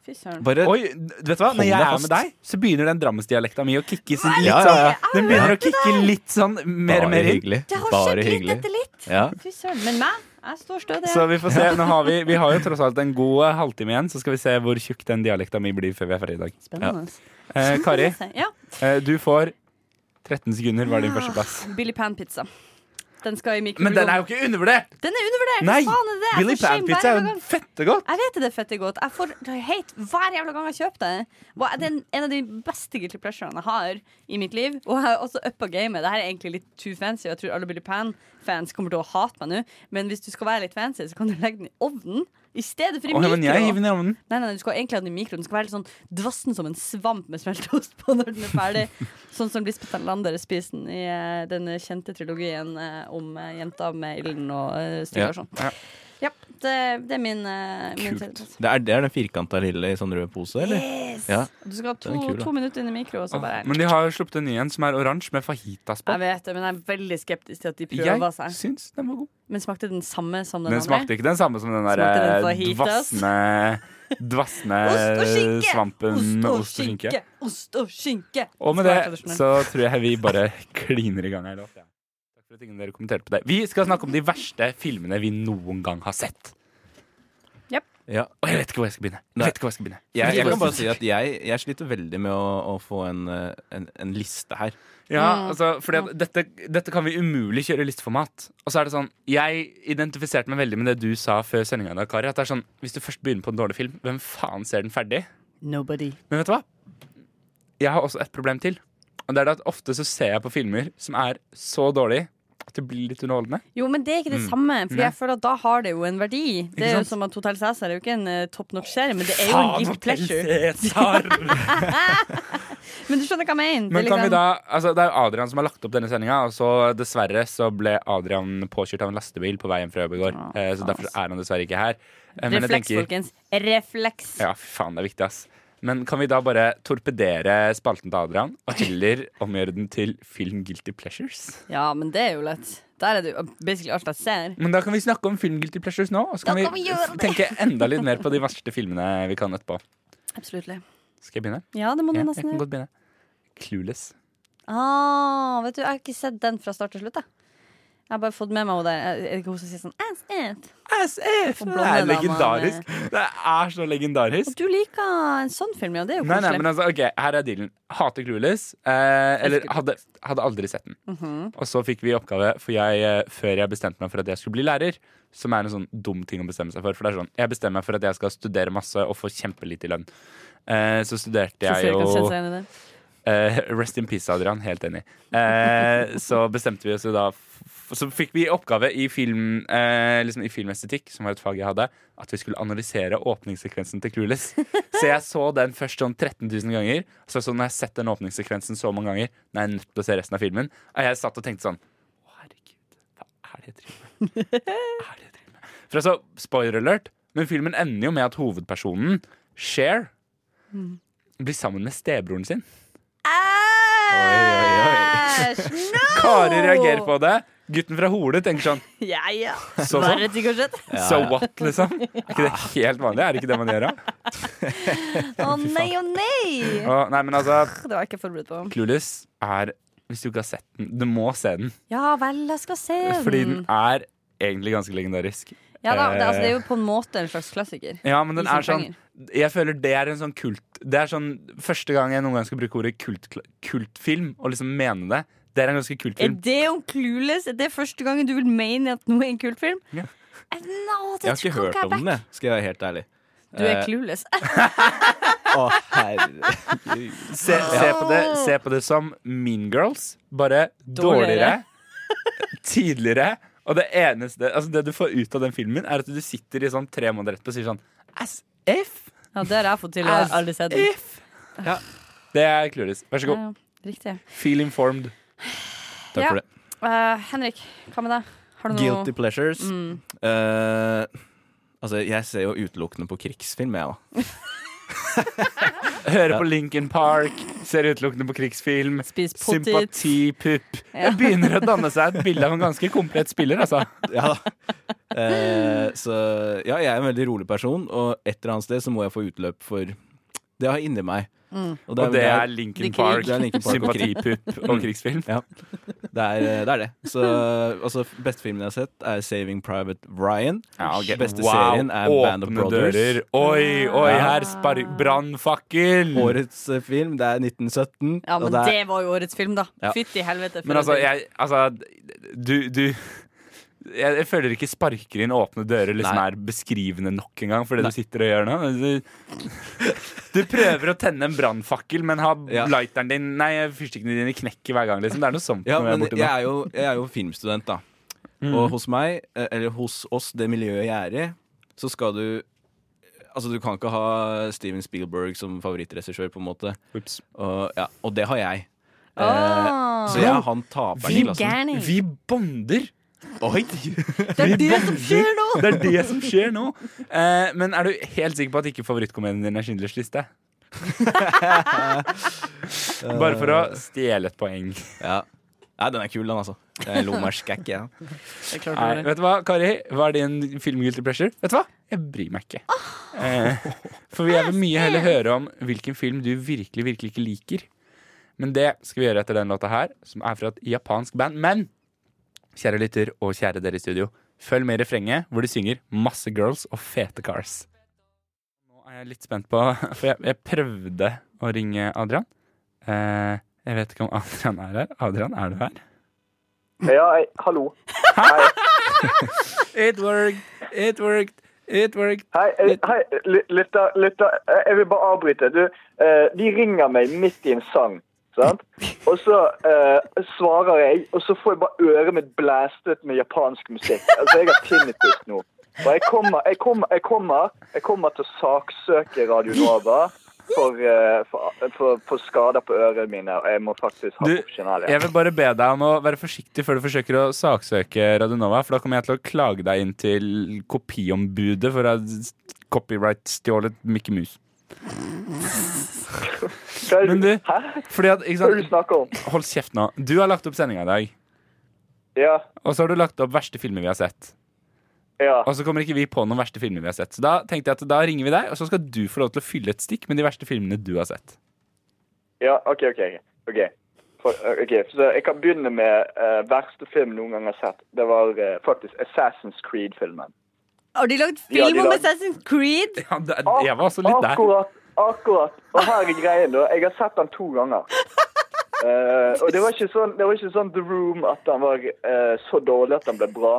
Speaker 4: Fy søren.
Speaker 5: Bare
Speaker 2: Oi, vet du hva?
Speaker 5: Hold
Speaker 2: Når jeg
Speaker 5: deg
Speaker 2: er
Speaker 5: fast.
Speaker 2: med deg, så begynner den drammensdialekta mi å kikke sin litt
Speaker 5: Ja, ja, ja.
Speaker 2: sånn. Den begynner å kikke litt sånn mer og
Speaker 5: Bare
Speaker 2: mer inn.
Speaker 5: hyggelig.
Speaker 4: Det har skjedd
Speaker 5: Bare
Speaker 4: litt
Speaker 5: hyggelig.
Speaker 4: etter litt.
Speaker 5: Ja.
Speaker 4: Fy søren. Men meg? Jeg står stødig.
Speaker 2: Så vi får se. Nå har vi, vi har jo tross alt en god eh, halvtime igjen, så skal vi se hvor tjukk den dialekta mi blir før vi er ferdig i dag.
Speaker 4: Spennende.
Speaker 2: Eh, Kari,
Speaker 4: Ja.
Speaker 2: eh, du får 13 sekunder. Hva er din førsteplass?
Speaker 4: Billy Pan-pizza. Den skal i
Speaker 2: Men
Speaker 4: mikroen.
Speaker 2: den er jo ikke undervurdert!
Speaker 4: Den er undervurdert!
Speaker 2: Nei!
Speaker 4: Hva faen er det? Jeg
Speaker 2: Billy
Speaker 4: får shame
Speaker 2: Pan-pizza
Speaker 4: hver
Speaker 2: er jo
Speaker 4: jævla gang.
Speaker 2: fettegodt!
Speaker 4: Jeg vet det, det er fette godt. Jeg får hate hver jævla gang jeg kjøper det. Hva- Det er en- en av de beste guilty pleasurene jeg har i mitt liv. Og jeg har også uppa gamet. Dette er egentlig litt too fancy, og jeg tror alle Billy Pan-fans kommer til å hate meg nå. Men hvis du skal være litt fancy, så kan du legge den i ovnen i stedet for i
Speaker 2: Å, ja, men jeg hiver
Speaker 4: mikroen.
Speaker 2: den i ovnen.
Speaker 4: Nei, nei, du skal egentlig ha den i mikroen. Den skal være litt sånn dvassen som en svamp med smelteost på når den er ferdig. sånn som Lisbeth Erlander spiser den i eh, den kjente trilogien eh, om eh, jenta med ilden og uh,
Speaker 5: Ja,
Speaker 4: og sånn. Ja, det, det er min, eh, min tredjeplass.
Speaker 5: Det er, det er den firkanta lille i sånn rød pose, eller?
Speaker 4: Yes!
Speaker 5: Ja.
Speaker 4: Du skal ha to,
Speaker 5: Den er kul, da.
Speaker 4: to minutter inn i mikro, og så bare
Speaker 2: Men de har jo sluppet en ny en som er oransje med fajitas på.
Speaker 4: Jeg vet det, men jeg er veldig skeptisk til at de
Speaker 2: Jeg
Speaker 4: prøver seg.
Speaker 2: syns den var god.
Speaker 4: Men smakte den samme som den,
Speaker 2: Den smakte
Speaker 4: andre?
Speaker 2: ikke den samme som den
Speaker 4: Smakte den
Speaker 2: der eh,
Speaker 4: fajitas?
Speaker 2: dvassende Dvassende svampen med ost og skinke.
Speaker 4: Ost og skinke!
Speaker 2: Og med
Speaker 4: Skal være
Speaker 2: det
Speaker 4: tradisjonell.
Speaker 2: så tror jeg vi bare kliner i gang her. da. Takk for at ingen dere kommenterte på det. Vi skal snakke om de verste filmene vi noen gang har sett.
Speaker 5: Ja.
Speaker 2: Og jeg vet ikke hvor jeg skal begynne. Jeg
Speaker 5: Nei.
Speaker 2: vet ikke hvor jeg skal begynne.
Speaker 5: Jeg, jeg kan bare si at jeg, jeg sliter veldig med å, å få en, eh, en, en liste her.
Speaker 2: Ja, altså, fordi at dette, dette kan vi umulig kjøre i listeformat. Og så er det sånn, Jeg identifiserte meg veldig med det du sa før sendinga. Kari, at det er sånn, hvis du først begynner på en dårlig film, hvem faen ser den ferdig?
Speaker 4: Nobody.
Speaker 2: Men vet du hva? Jeg har også et problem til. Og det er det at Ofte så ser jeg på filmer som er så dårlige at det blir litt underholdende.
Speaker 4: Jo, men det er ikke det samme, Fordi
Speaker 2: Mm. Nei.
Speaker 4: jeg føler at da har det jo en verdi. Det er jo
Speaker 2: sant?
Speaker 4: som at Hotel Cæsar er jo ikke en eh, top notch-serie, men det er jo en gift pleasure. liksom- Men du skjønner hva jeg mener.
Speaker 2: Men
Speaker 4: Det er
Speaker 2: kan vi
Speaker 4: liksom-
Speaker 2: da, altså Det er jo Adrian som har lagt opp denne sendinga, og så dessverre så ble Adrian påkjørt av en lastebil på vei hjem fra jobb i går.
Speaker 4: Ah,
Speaker 2: eh, Så derfor er han dessverre ikke her. Eh, Men jeg
Speaker 4: Refleks,
Speaker 2: tenker
Speaker 4: folkens. Refleks.
Speaker 2: Ja, fy faen, det er viktig, ass. Men kan vi da bare torpedere spalten til Adrian, og heller omgjøre den til Film Guilty Pleasures?
Speaker 4: Ja, men det er jo lett. Der er det jo basically alt jeg ser.
Speaker 2: Men da kan vi snakke om Film Guilty Pleasures nå, og så kan,
Speaker 4: Da kan vi
Speaker 2: vi
Speaker 4: gjøre det.
Speaker 2: tenke enda litt mer på de verste filmene vi kan etterpå.
Speaker 4: Absolutt.
Speaker 2: Skal jeg begynne?
Speaker 4: Ja, det må du
Speaker 2: Ja, jeg
Speaker 4: nesten
Speaker 2: kan
Speaker 4: gjøre.
Speaker 2: godt begynne. Clueless.
Speaker 4: Ah, vet du, jeg har ikke sett den fra start til slutt. Jeg. Jeg har bare fått med meg henne der. Er det ikke hun som sier sånn ass it?
Speaker 2: As if!
Speaker 4: Og
Speaker 2: Det
Speaker 4: blonde
Speaker 2: er
Speaker 4: dama
Speaker 2: legendarisk. Det er så legendarisk.
Speaker 4: Og du liker en sånn film, ja. Det er jo
Speaker 2: Nei, nei, men
Speaker 4: koselig.
Speaker 2: altså, ok, Her er dealen. Hater Clueless. Eh, eller
Speaker 4: Elsker Mhm.
Speaker 2: hadde, hadde aldri sett den. Og så fikk vi oppgave, for jeg, eh, før jeg bestemte meg for at jeg skulle bli lærer, som er en sånn dum ting å bestemme seg for. For det er sånn, Jeg bestemmer meg for at jeg skal studere masse og få kjempelite i lønn. Eh, så studerte jeg
Speaker 4: Så Siri kan kjenne
Speaker 2: jo
Speaker 4: seg igjen i det.
Speaker 2: Eh, rest in peace, Adrian. Helt enig. Eh, så bestemte vi oss jo da f- Så fikk vi i oppgave i, film, eh, liksom i filmestetikk, som var et fag jeg hadde, at vi skulle analysere åpningssekvensen til Clueless. Så jeg så den først sånn 13 000 ganger. Så, så når jeg har sett den åpningssekvensen så mange ganger, Nå er jeg nødt til å se resten av filmen. Og jeg satt og tenkte sånn Å, herregud, hva er det jeg driver med? Hva er det jeg driver med? For altså, spoiler alert, men filmen ender jo med at hovedpersonen, Cher, blir sammen med stebroren sin. Oi,
Speaker 4: Æsj! No!
Speaker 2: Kari reagerer på det. Gutten fra Hole tenker sånn
Speaker 4: Ja, ja.
Speaker 2: Så
Speaker 4: Bare
Speaker 2: så?
Speaker 4: et sikkerhet.
Speaker 2: So what, liksom? Er ikke det helt vanlig? Er det ikke det man gjør, da?
Speaker 4: Å nei, å nei!
Speaker 2: Og, nei, men altså,
Speaker 4: Det var jeg ikke forberedt på.
Speaker 2: Clueless er Hvis du ikke har sett den, du må se den.
Speaker 4: Ja vel, jeg skal se den.
Speaker 2: Fordi den er egentlig ganske legendarisk.
Speaker 4: Ja da, det, altså, det er jo på en måte en slags klassiker.
Speaker 2: Ja, men den
Speaker 4: I sin
Speaker 2: er sånn Jeg føler det er en sånn kult Det er sånn Første gang jeg noen gang skal bruke ordet kult, kultfilm, og liksom mene det, det er en ganske kult
Speaker 4: Er
Speaker 2: film.
Speaker 4: det om Clueless? Er det første gangen du vil mene at noe er en kult film?
Speaker 2: Ja.
Speaker 4: Eh, No, det
Speaker 5: Jeg har ikke hørt om den, jeg, skal jeg være helt ærlig.
Speaker 4: Du er
Speaker 5: Eh,
Speaker 4: clueless.
Speaker 5: Å, herregud.
Speaker 2: Se, se, på det, se på det som Mean Girls, bare dårligere, tidligere. Og det eneste altså Det du får ut av den filmen, er at du sitter i sånn tre måneder etterpå og sier sånn As if!
Speaker 4: Ja, det har jeg fått til, og
Speaker 2: As
Speaker 4: jeg har aldri sett den.
Speaker 2: if! Ja, det er Clueless. Vær så
Speaker 4: Ja,
Speaker 2: god.
Speaker 4: ja, riktig.
Speaker 2: Feel informed.
Speaker 5: Takk
Speaker 4: Ja.
Speaker 5: for det.
Speaker 4: Eh, Henrik, hva med deg? Har du
Speaker 5: Guilty
Speaker 4: noe Mm,
Speaker 5: pleasures. Eh, altså, jeg ser jo utelukkende på krigsfilm, jeg òg.
Speaker 2: Hører på Lincoln Park, ser utelukkende på krigsfilm.
Speaker 4: Spis potet.
Speaker 2: Sympatipupp. Det begynner å danne seg et bilde av en ganske komplett spiller, altså.
Speaker 5: Ja da. Eh, så ja, jeg er en veldig rolig person, og et eller annet sted så må jeg få utløp for det jeg har inni meg.
Speaker 4: mm.
Speaker 5: Og
Speaker 2: Og det er
Speaker 4: Det
Speaker 2: Lincoln
Speaker 4: er krig.
Speaker 2: Park,
Speaker 5: Det er Linkin Park og krig.
Speaker 2: sympatipupp og krigsfilm.
Speaker 5: det er eh, det. Er det. Så altså, beste filmen jeg har sett, er 'Saving Private Ryan'.
Speaker 2: Ja, ok.
Speaker 5: Beste
Speaker 2: Wow,
Speaker 5: serien er Band of
Speaker 2: åpne
Speaker 5: Brothers.
Speaker 2: Dører. Oi, oi,
Speaker 5: Ja.
Speaker 2: her spark Brannfakkel!
Speaker 5: Årets eh, film, det er 1917.
Speaker 4: Ja,
Speaker 5: og
Speaker 4: men
Speaker 5: det er,
Speaker 4: det var jo årets film, da.
Speaker 5: Ja.
Speaker 4: Fytti helvete. for
Speaker 2: Men altså,
Speaker 4: en film.
Speaker 2: jeg Altså, du, du jeg, jeg føler ikke sparker inn åpne dører liksom
Speaker 5: Nei.
Speaker 2: er beskrivende nok engang for det du sitter og gjør nå. Du, du prøver å tenne en brannfakkel, men har
Speaker 5: Ja.
Speaker 2: lighteren din Nei, fyrstikkene dine knekker hver gang, liksom. Det er noe sånt
Speaker 5: ja,
Speaker 2: når jeg er
Speaker 5: men
Speaker 2: borti
Speaker 5: jeg
Speaker 2: nå. Mm.
Speaker 5: er, jo, jeg er jo filmstudent, da. Og hos meg, eh, eller hos oss, det miljøet jeg er i, så skal du Altså, du kan ikke ha Steven Spielberg som favorittregissør, på en måte.
Speaker 2: Ups.
Speaker 5: Og, ja, og det har jeg. Eh,
Speaker 4: Ah.
Speaker 5: så jeg er han taperen i
Speaker 4: Vi
Speaker 5: klassen.
Speaker 4: Gærning.
Speaker 2: Vi bonder!
Speaker 5: Oi!
Speaker 4: det er det som skjer nå!
Speaker 2: Det er det som skjer nå. Eh, men er du helt sikker på at ikke favorittkomedien din er Schindlers liste? Bare for å stjele et poeng.
Speaker 5: Ja. Nei, den er kul, den, altså. Jeg lo meg skækk, jeg.
Speaker 4: Det er klart
Speaker 2: Nei,
Speaker 4: det var det.
Speaker 2: vet du hva, Kari? Hva er din filmguilty pleasure? Vet du hva? Jeg bryr meg ikke. Eh, for jeg vil mye heller høre om hvilken film du virkelig, virkelig ikke liker. Men det skal vi gjøre etter den låta her, som er fra et japansk band. Men kjære lytter og kjære dere i studio, følg med i refrenget hvor de synger masse girls og fete cars. Nå er jeg litt spent på For jeg, jeg prøvde å ringe Adrian. Eh, jeg vet ikke om Adrian er her. Adrian, er du her?
Speaker 7: Ja, hei, hallo.
Speaker 2: It worked, it worked, it worked.
Speaker 7: Hei, eh, hei ly- lytter, lytter. Eh, Jeg vil bare avbryte. Du, eh, de ringer meg midt i en sang, sant? Og så eh, svarer jeg, og så får jeg bare øret mitt blæstet med japansk musikk. Altså, jeg har tinnitus nå. Og jeg kommer, jeg kommer, jeg kommer, jeg kommer til å saksøke Radio Nova for, eh, for, for, for skader på ørene mine, og jeg må faktisk ha
Speaker 2: Du,
Speaker 7: profesjonell
Speaker 2: Jeg vil bare be deg om å være forsiktig før du forsøker å saksøke Radionova, for da kommer jeg til å klage deg inn til kopiombudet for å ha copyright-stjålet Mickey Mouse.
Speaker 7: Hva er
Speaker 2: Men du,
Speaker 7: det Hæ?
Speaker 2: fordi at,
Speaker 7: Hva er det
Speaker 2: ikke
Speaker 7: du
Speaker 2: sant,
Speaker 7: snakker om?
Speaker 2: Hold kjeft nå. Du har lagt opp sendinga i dag,
Speaker 7: Ja,
Speaker 2: og så har du lagt opp verste filmer vi har sett.
Speaker 7: ja.
Speaker 2: Og så kommer ikke vi på noen verste filmer vi har sett. Så da tenkte jeg at da ringer vi deg, og så skal du få lov til å fylle et stikk med de verste filmene du har sett.
Speaker 7: Ja, ok, ok. ok. ok. for- eh, ok, så Jeg kan begynne med eh, verste film noen gang jeg har sett. Det var eh, faktisk Assassin's Creed-filmen.
Speaker 4: Har de lagd
Speaker 7: Ja, de
Speaker 4: film om
Speaker 7: lag-
Speaker 4: Assassin's Creed?
Speaker 2: Ja, det, jeg var også litt der.
Speaker 7: Akkurat. akkurat. Og her er greien, da. Jeg har sett den to ganger. Eh, og det var, ikke sånn, det var ikke sånn The Room at den var eh, så dårlig at den ble bra.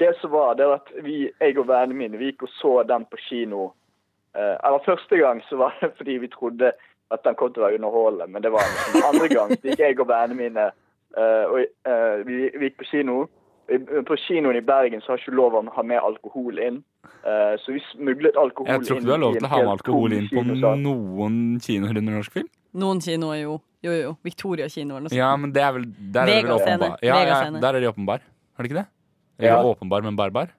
Speaker 7: Det som var, det var at vi, jeg og vennene mine vi gikk og så den på kino. Eh, eller første gang så var det fordi vi trodde at den kom til å være underholdende, men det var den ikke. Andre gang så gikk jeg og vennene mine eh, og, eh, vi, vi gikk på kino. I- På kinoen i Bergen så har ikke lov å ha med alkohol inn, eh, så vi smuglet alkohol inn.
Speaker 2: Jeg tror ikke du har lov
Speaker 7: i en
Speaker 2: til å ha med
Speaker 7: helt
Speaker 2: alkohol
Speaker 7: tom
Speaker 2: inn på
Speaker 7: kinosal.
Speaker 2: noen kinoer under norsk film.
Speaker 4: Noen kinoer, jo. Jo, jo. Victoria-kinoen. og sånt.
Speaker 2: Ja, men det er vel Der er det vel
Speaker 4: Vegas scene.
Speaker 2: åpenbar. Ja, ja,
Speaker 4: Vegas scene.
Speaker 2: der er de åpenbar. Har de ikke det? Eller
Speaker 7: Ja.
Speaker 2: åpenbar, men barbar?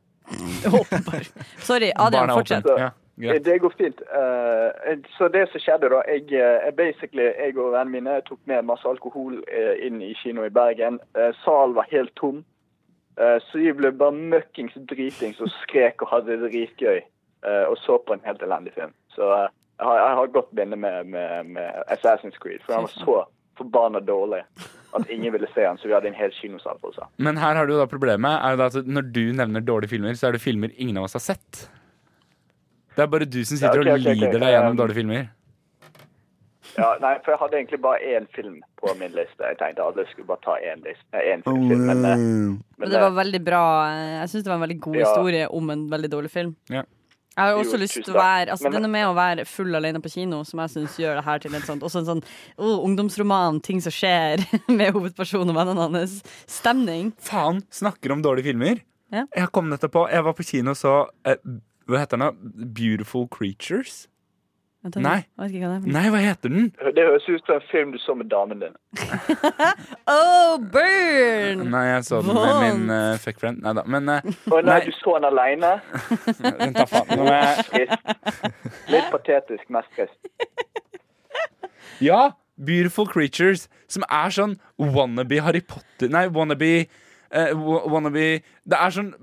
Speaker 4: Åpenbar. Sorry, Adrian,
Speaker 2: Barn er
Speaker 4: fortsett.
Speaker 2: åpen. Ja, greit.
Speaker 7: Det går fint. Eh, så det som skjedde da, jeg, eh, jeg basically, jeg og vennene mine tok med masse alkohol eh, inn i kino i Bergen. Eh, salen var helt tom, Eh, så vi ble bare møkkings dritings og skrek og hadde det dritgøy. eh, og så på en helt elendig film. Så eh, jeg, har, jeg har et godt minne med, med, med Assassin's Creed, for den var så forbanna dårlig at ingen ville se den, så vi hadde en hel kinosal for oss. da.
Speaker 2: Men her har du da problemet. Er det at når du nevner dårlige filmer, så er det filmer ingen av oss har sett. Det er bare du som sitter
Speaker 7: Ja, ok, ok, ok.
Speaker 2: og lider deg gjennom
Speaker 7: Um,
Speaker 2: dårlige filmer.
Speaker 7: Ja, nei, for jeg hadde egentlig bare én film på min liste. Jeg tenkte alle skulle bare ta én liste. eh, én film, men, eh, men
Speaker 4: Men det var
Speaker 7: eh,
Speaker 4: veldig bra. Jeg syns det var en veldig god
Speaker 7: Ja.
Speaker 4: historie om en veldig dårlig film.
Speaker 2: Ja.
Speaker 4: Jeg har jo
Speaker 7: Jo,
Speaker 4: også lyst
Speaker 7: tusen
Speaker 4: til å
Speaker 7: takk.
Speaker 4: være altså,
Speaker 7: Men-
Speaker 4: Det er noe med å være full alene på kino som jeg syns gjør det her til en sånn, også en sånn «Åh, ungdomsroman, ting som skjer med hovedpersonen og vennene hans. Stemning.
Speaker 2: Faen, snakker om dårlige filmer.
Speaker 4: Ja.
Speaker 2: Jeg kom nettopp på Jeg var på kino og så eh, Hva heter den da? Beautiful Creatures?
Speaker 4: Jeg vet-
Speaker 2: Nei.
Speaker 4: Jeg vet ikke hva det er.
Speaker 2: Nei, hva heter den?
Speaker 7: eh, Det høres ut som en film du så med damen din.
Speaker 4: Oh, burn!
Speaker 2: Nei, jeg så den med min eh, fuckfriend. Nei da. Men eh,
Speaker 7: Å nei,
Speaker 2: Nei.
Speaker 7: du så den aleine.
Speaker 2: vent, da faen. Nå må jeg
Speaker 7: Trist. Litt patetisk, mest trist.
Speaker 2: Ja, Beautiful Creatures, som er sånn wannabe Harry Potter Nei, wannabe eh, wa- wannabe Det er sånn,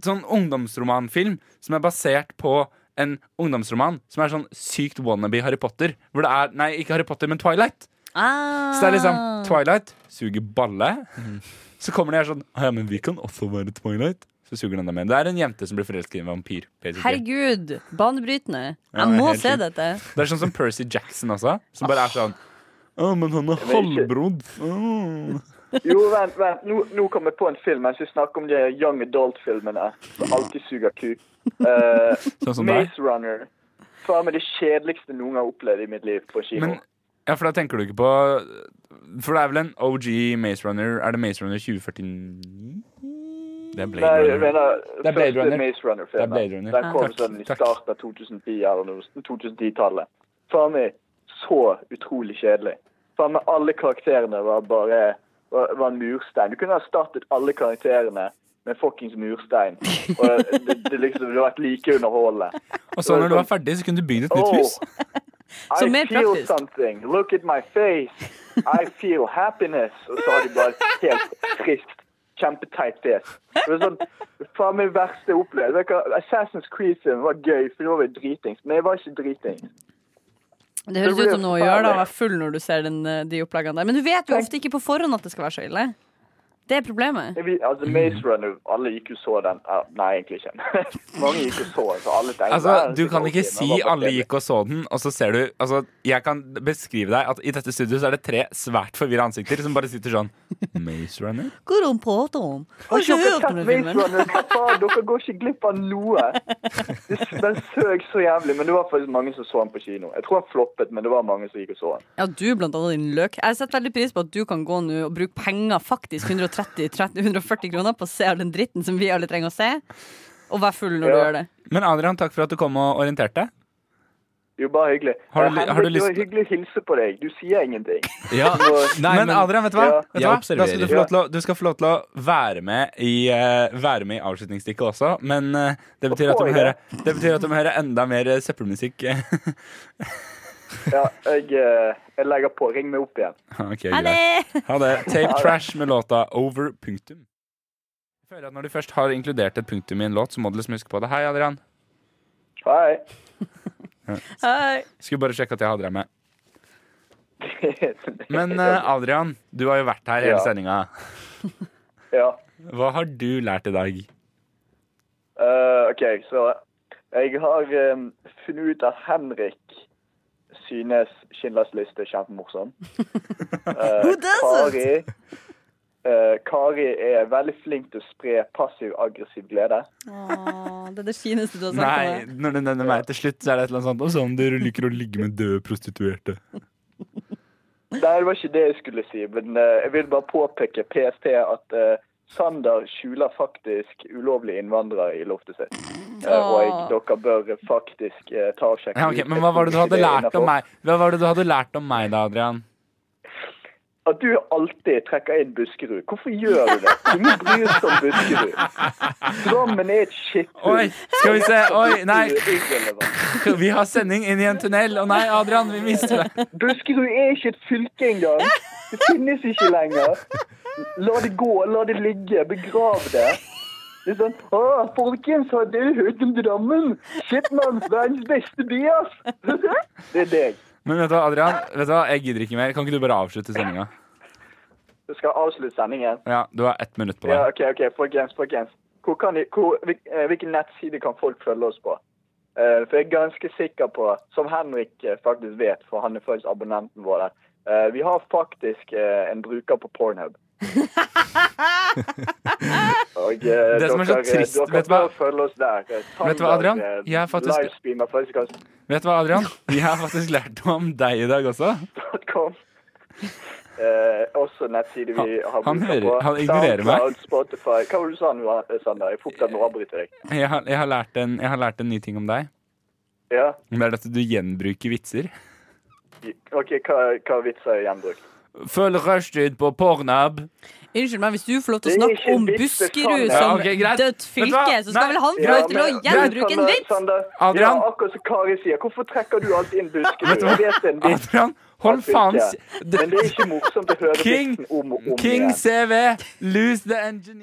Speaker 2: sånn ungdomsromanfilm som er basert på en ungdomsroman som er sånn sykt wannabe Harry Potter. Hvor det er Nei, ikke Harry Potter, men Twilight.
Speaker 4: Ah.
Speaker 2: Så det er liksom Twilight suger balle. Så kommer de her sånn «Å Ja, men vi kan også være Twilight. Så suger den dem med. Det er en jente som blir forelsket i en vampyr. basically.
Speaker 4: Herregud, banebrytende.
Speaker 2: Ja,
Speaker 4: Jeg må
Speaker 2: helt
Speaker 4: se
Speaker 2: sjukt.
Speaker 4: dette.
Speaker 2: Det er sånn som Percy Jackson også, som
Speaker 4: Ah.
Speaker 2: bare er sånn Å, men han er halvbrodd. Mm. Åh».
Speaker 7: Jo, vent, vent. Nå, nå kom jeg på en film mens vi snakker om de young adult-filmene som alltid suger kuk. Eh,
Speaker 2: Sånn som deg.
Speaker 7: Maze Runner. Faen meg det kjedeligste noen har opplevd i mitt liv på kino.
Speaker 2: Men ja, for da tenker du ikke på For det er vel en OG Maze Runner Er det Maze Runner 2049?
Speaker 5: Det er Blade
Speaker 7: Nei, jeg
Speaker 5: Runner.
Speaker 7: mener
Speaker 2: Det er Blade
Speaker 7: første
Speaker 2: Runner.
Speaker 7: Maze
Speaker 2: Det er
Speaker 7: Runner-filmen.
Speaker 2: Blade Runner.
Speaker 7: Den kom
Speaker 2: Takk,
Speaker 7: sånn i
Speaker 2: takk.
Speaker 7: starten av 2010 eller noe, 2010-tallet. Faen meg så utrolig kjedelig. Faen meg alle karakterene var bare var, var en murstein. Du kunne ha startet alle karakterene med fuckings murstein. Og det, det liksom det hadde vært like underholdende.
Speaker 2: Og så når du var ferdig, så kunne du bygd et nytt hus.
Speaker 4: Så
Speaker 7: I
Speaker 4: mer
Speaker 7: feel
Speaker 4: praktisk.
Speaker 7: something. Look at my face. I feel happiness. Og så har de bare et helt trist, kjempeteit fjes. Det var sånn, faen min verste opplevelse. Vet dere, Assassin's Creed-film var gøy, for det var vi dritings. Men jeg var ikke dritings.
Speaker 4: Det høres
Speaker 7: Det
Speaker 4: ut
Speaker 7: blir
Speaker 4: som noe å gjøre, da. å
Speaker 7: farlig.
Speaker 4: Være full når du ser den, eh, de oppleggene der. Men du vet jo ofte ikke på forhånd at det skal være så ille. Det er problemet.
Speaker 7: Jeg, vil- altså, Maze Runner, alle gikk jo så den. Ja, Nei, egentlig ikke. Mange gikk jo så, så alle tenkte...
Speaker 2: Altså,
Speaker 7: "Ja,
Speaker 2: Du
Speaker 7: det
Speaker 2: kan
Speaker 7: går
Speaker 2: ikke
Speaker 7: fint, men
Speaker 2: si
Speaker 7: det var bare
Speaker 2: 'alle
Speaker 7: kjedelig."
Speaker 2: gikk og så den', og så ser du altså, Jeg kan beskrive deg at i dette studioet så er det tre svært forvirra ansikter som bare sitter sånn Maze Runner?
Speaker 4: Går om på Tom. Har
Speaker 7: Har
Speaker 4: ikke
Speaker 7: dere
Speaker 4: hørt om
Speaker 7: sett
Speaker 4: den
Speaker 7: Maze
Speaker 4: filmen.
Speaker 7: Runner? Hva faen, Dere går ikke glipp av noe. Den søk så jævlig, men det var faktisk mange som så den på kino. Jeg tror han floppet, men det var mange som gikk og så den.
Speaker 4: Ja, du blant annet, din løk. Jeg setter veldig pris på at du kan gå nå og bruke penger, faktisk 130 30, 140 kroner, på å se all den dritten som vi alle trenger å se, og være full når du
Speaker 7: Ja.
Speaker 4: gjør det.
Speaker 2: Men Adrian, takk for at du kom og orienterte.
Speaker 7: Jo, bare hyggelig.
Speaker 2: Har du-
Speaker 7: Eh, Henrik,
Speaker 2: har du lyst-
Speaker 7: Det var hyggelig å hilse på deg. Du sier ingenting.
Speaker 5: Ja, nei,
Speaker 2: men, Adrian, vet du hva?
Speaker 7: Ja.
Speaker 2: vet du,
Speaker 5: Jeg
Speaker 2: hva? Da
Speaker 5: observerer.
Speaker 2: skal du, få lov til å, du skal få lov til å være med i, eh, være med i avslutningsstikket også, men eh, det, betyr at du må
Speaker 7: Oi, ja.
Speaker 2: høre, det betyr at du må høre enda mer eh, søppelmusikk.
Speaker 7: Ja, jeg, eh, jeg legger på. Ring meg opp igjen.
Speaker 2: Ok,
Speaker 4: Ha
Speaker 2: greit.
Speaker 4: det!
Speaker 2: Ha det. Tape Trash med låta Over punktum. Jeg føler at Når du først har inkludert et punktum i en låt, så må du liksom huske på det. Hei, Adrian.
Speaker 7: Hei.
Speaker 4: Hei.
Speaker 2: Skulle bare sjekke at jeg hadde deg med. Men eh, Adrian, du har jo vært her hele
Speaker 7: Ja.
Speaker 2: sendinga.
Speaker 7: ja.
Speaker 2: Hva har du lært i dag?
Speaker 7: Eh, OK, så jeg har eh, funnet ut at Henrik synes Schindlers liste er kjempemorsom. Eh,
Speaker 4: Who doesn't?
Speaker 7: Kari, eh, Kari er veldig flink til å spre passiv-aggressiv glede.
Speaker 4: Åh, det Sånn er det fineste du har sagt.
Speaker 2: Nei,
Speaker 4: Nei.
Speaker 2: når du nevner meg til slutt, så er det et eller annet sånt om sånn du liker å ligge med døde prostituerte.
Speaker 7: Nei, det var ikke det jeg skulle si, men eh, jeg vil bare påpeke PST at eh, Sander skjuler faktisk ulovlige innvandrere i loftet sitt. Eh, og jeg, dere bør faktisk eh, ta og sjekke
Speaker 2: Ja, ok, men hva var det du hadde lært om meg, Hva var det du hadde lært om meg da, Adrian?
Speaker 7: At du alltid trekker inn Buskerud. Hvorfor gjør du det? Ingen bryr seg om Buskerud. Drammen er et
Speaker 2: Oi,
Speaker 7: skitthull.
Speaker 2: skal vi se. Oi, nei.
Speaker 7: Buskerud er irrelevant.
Speaker 2: Vi har sending inn i en tunnel. Å nei, Adrian, vi mister det.
Speaker 7: Buskerud er ikke et fylke engang. Det finnes ikke lenger. La det gå, la det ligge. Begrav det. Det er sånn Å, folkens, har dere hørt om Drammen? Shit, mann. Verdens beste by, ass. Det er deg.
Speaker 2: Men vet du hva, Adrian, vet du hva, jeg gidder ikke mer. Kan ikke du bare avslutte sendinga?
Speaker 7: Du skal avslutte sendingen.
Speaker 2: Ja, du har ett minutt på
Speaker 7: Ja,
Speaker 2: deg.
Speaker 7: OK, ok, folkens. folkens. Hvor kan de, hvor, hvil- eh, hvilken nettside kan folk følge oss på? Eh, for jeg er ganske sikker på, som Henrik eh, faktisk vet, for han er faktisk abonnenten vår der, eh, vi har faktisk eh, en bruker på Pornhub. Og, eh,
Speaker 2: Det som er så
Speaker 7: dere-
Speaker 2: trist,
Speaker 7: dere
Speaker 2: vet du
Speaker 7: bør
Speaker 2: hva-
Speaker 7: følge oss der. Eh,
Speaker 2: Vet du hva, Adrian?
Speaker 7: Sander, eh,
Speaker 2: Jeg er faktisk-
Speaker 7: Livestreamer fløysekast.com.
Speaker 2: Vet du hva, Adrian? Vi har faktisk lært om deg i dag også.
Speaker 7: Eh, også nettside vi
Speaker 2: Han-
Speaker 7: har
Speaker 2: han
Speaker 7: bruker
Speaker 2: hører-
Speaker 7: på.
Speaker 2: han ignorerer meg.
Speaker 7: SoundCloud, Spotify. Hva var det du sa nå, Sander? Jeg får opptatt med å avbryte deg.
Speaker 2: Jeg har, jeg, har lært en, jeg har lært en ny ting om deg.
Speaker 7: Ja,
Speaker 2: Det er at du gjenbruker vitser.
Speaker 7: ok, hva, hva vitser er gjenbrukt?
Speaker 2: Følg rushtid på pornab.
Speaker 4: Unnskyld meg, hvis du får lov til å
Speaker 7: Det er
Speaker 4: snakke
Speaker 7: ikke
Speaker 4: om
Speaker 7: vits,
Speaker 4: Buskerud
Speaker 7: det kan jeg.
Speaker 4: som
Speaker 2: Ja, ok, greit. Vet
Speaker 4: dødt
Speaker 2: du hva?
Speaker 4: fylke, så skal
Speaker 2: Nei.
Speaker 4: vel han få lov til å
Speaker 7: men- sånn-
Speaker 4: gjenbruke en
Speaker 7: Sander-
Speaker 4: vits?
Speaker 7: Sander,
Speaker 2: Adrian?
Speaker 7: Ja, akkurat som Kari sier, hvorfor trekker du alltid inn
Speaker 2: Vet
Speaker 7: Buskerud?
Speaker 2: du hva?
Speaker 7: Jeg vet det er en vits,
Speaker 2: Adrian, hold faen s-
Speaker 7: men det er ikke morsomt å høre
Speaker 2: King-
Speaker 7: vitsen om og om
Speaker 2: King
Speaker 7: igjen.
Speaker 2: CV, lose the engineer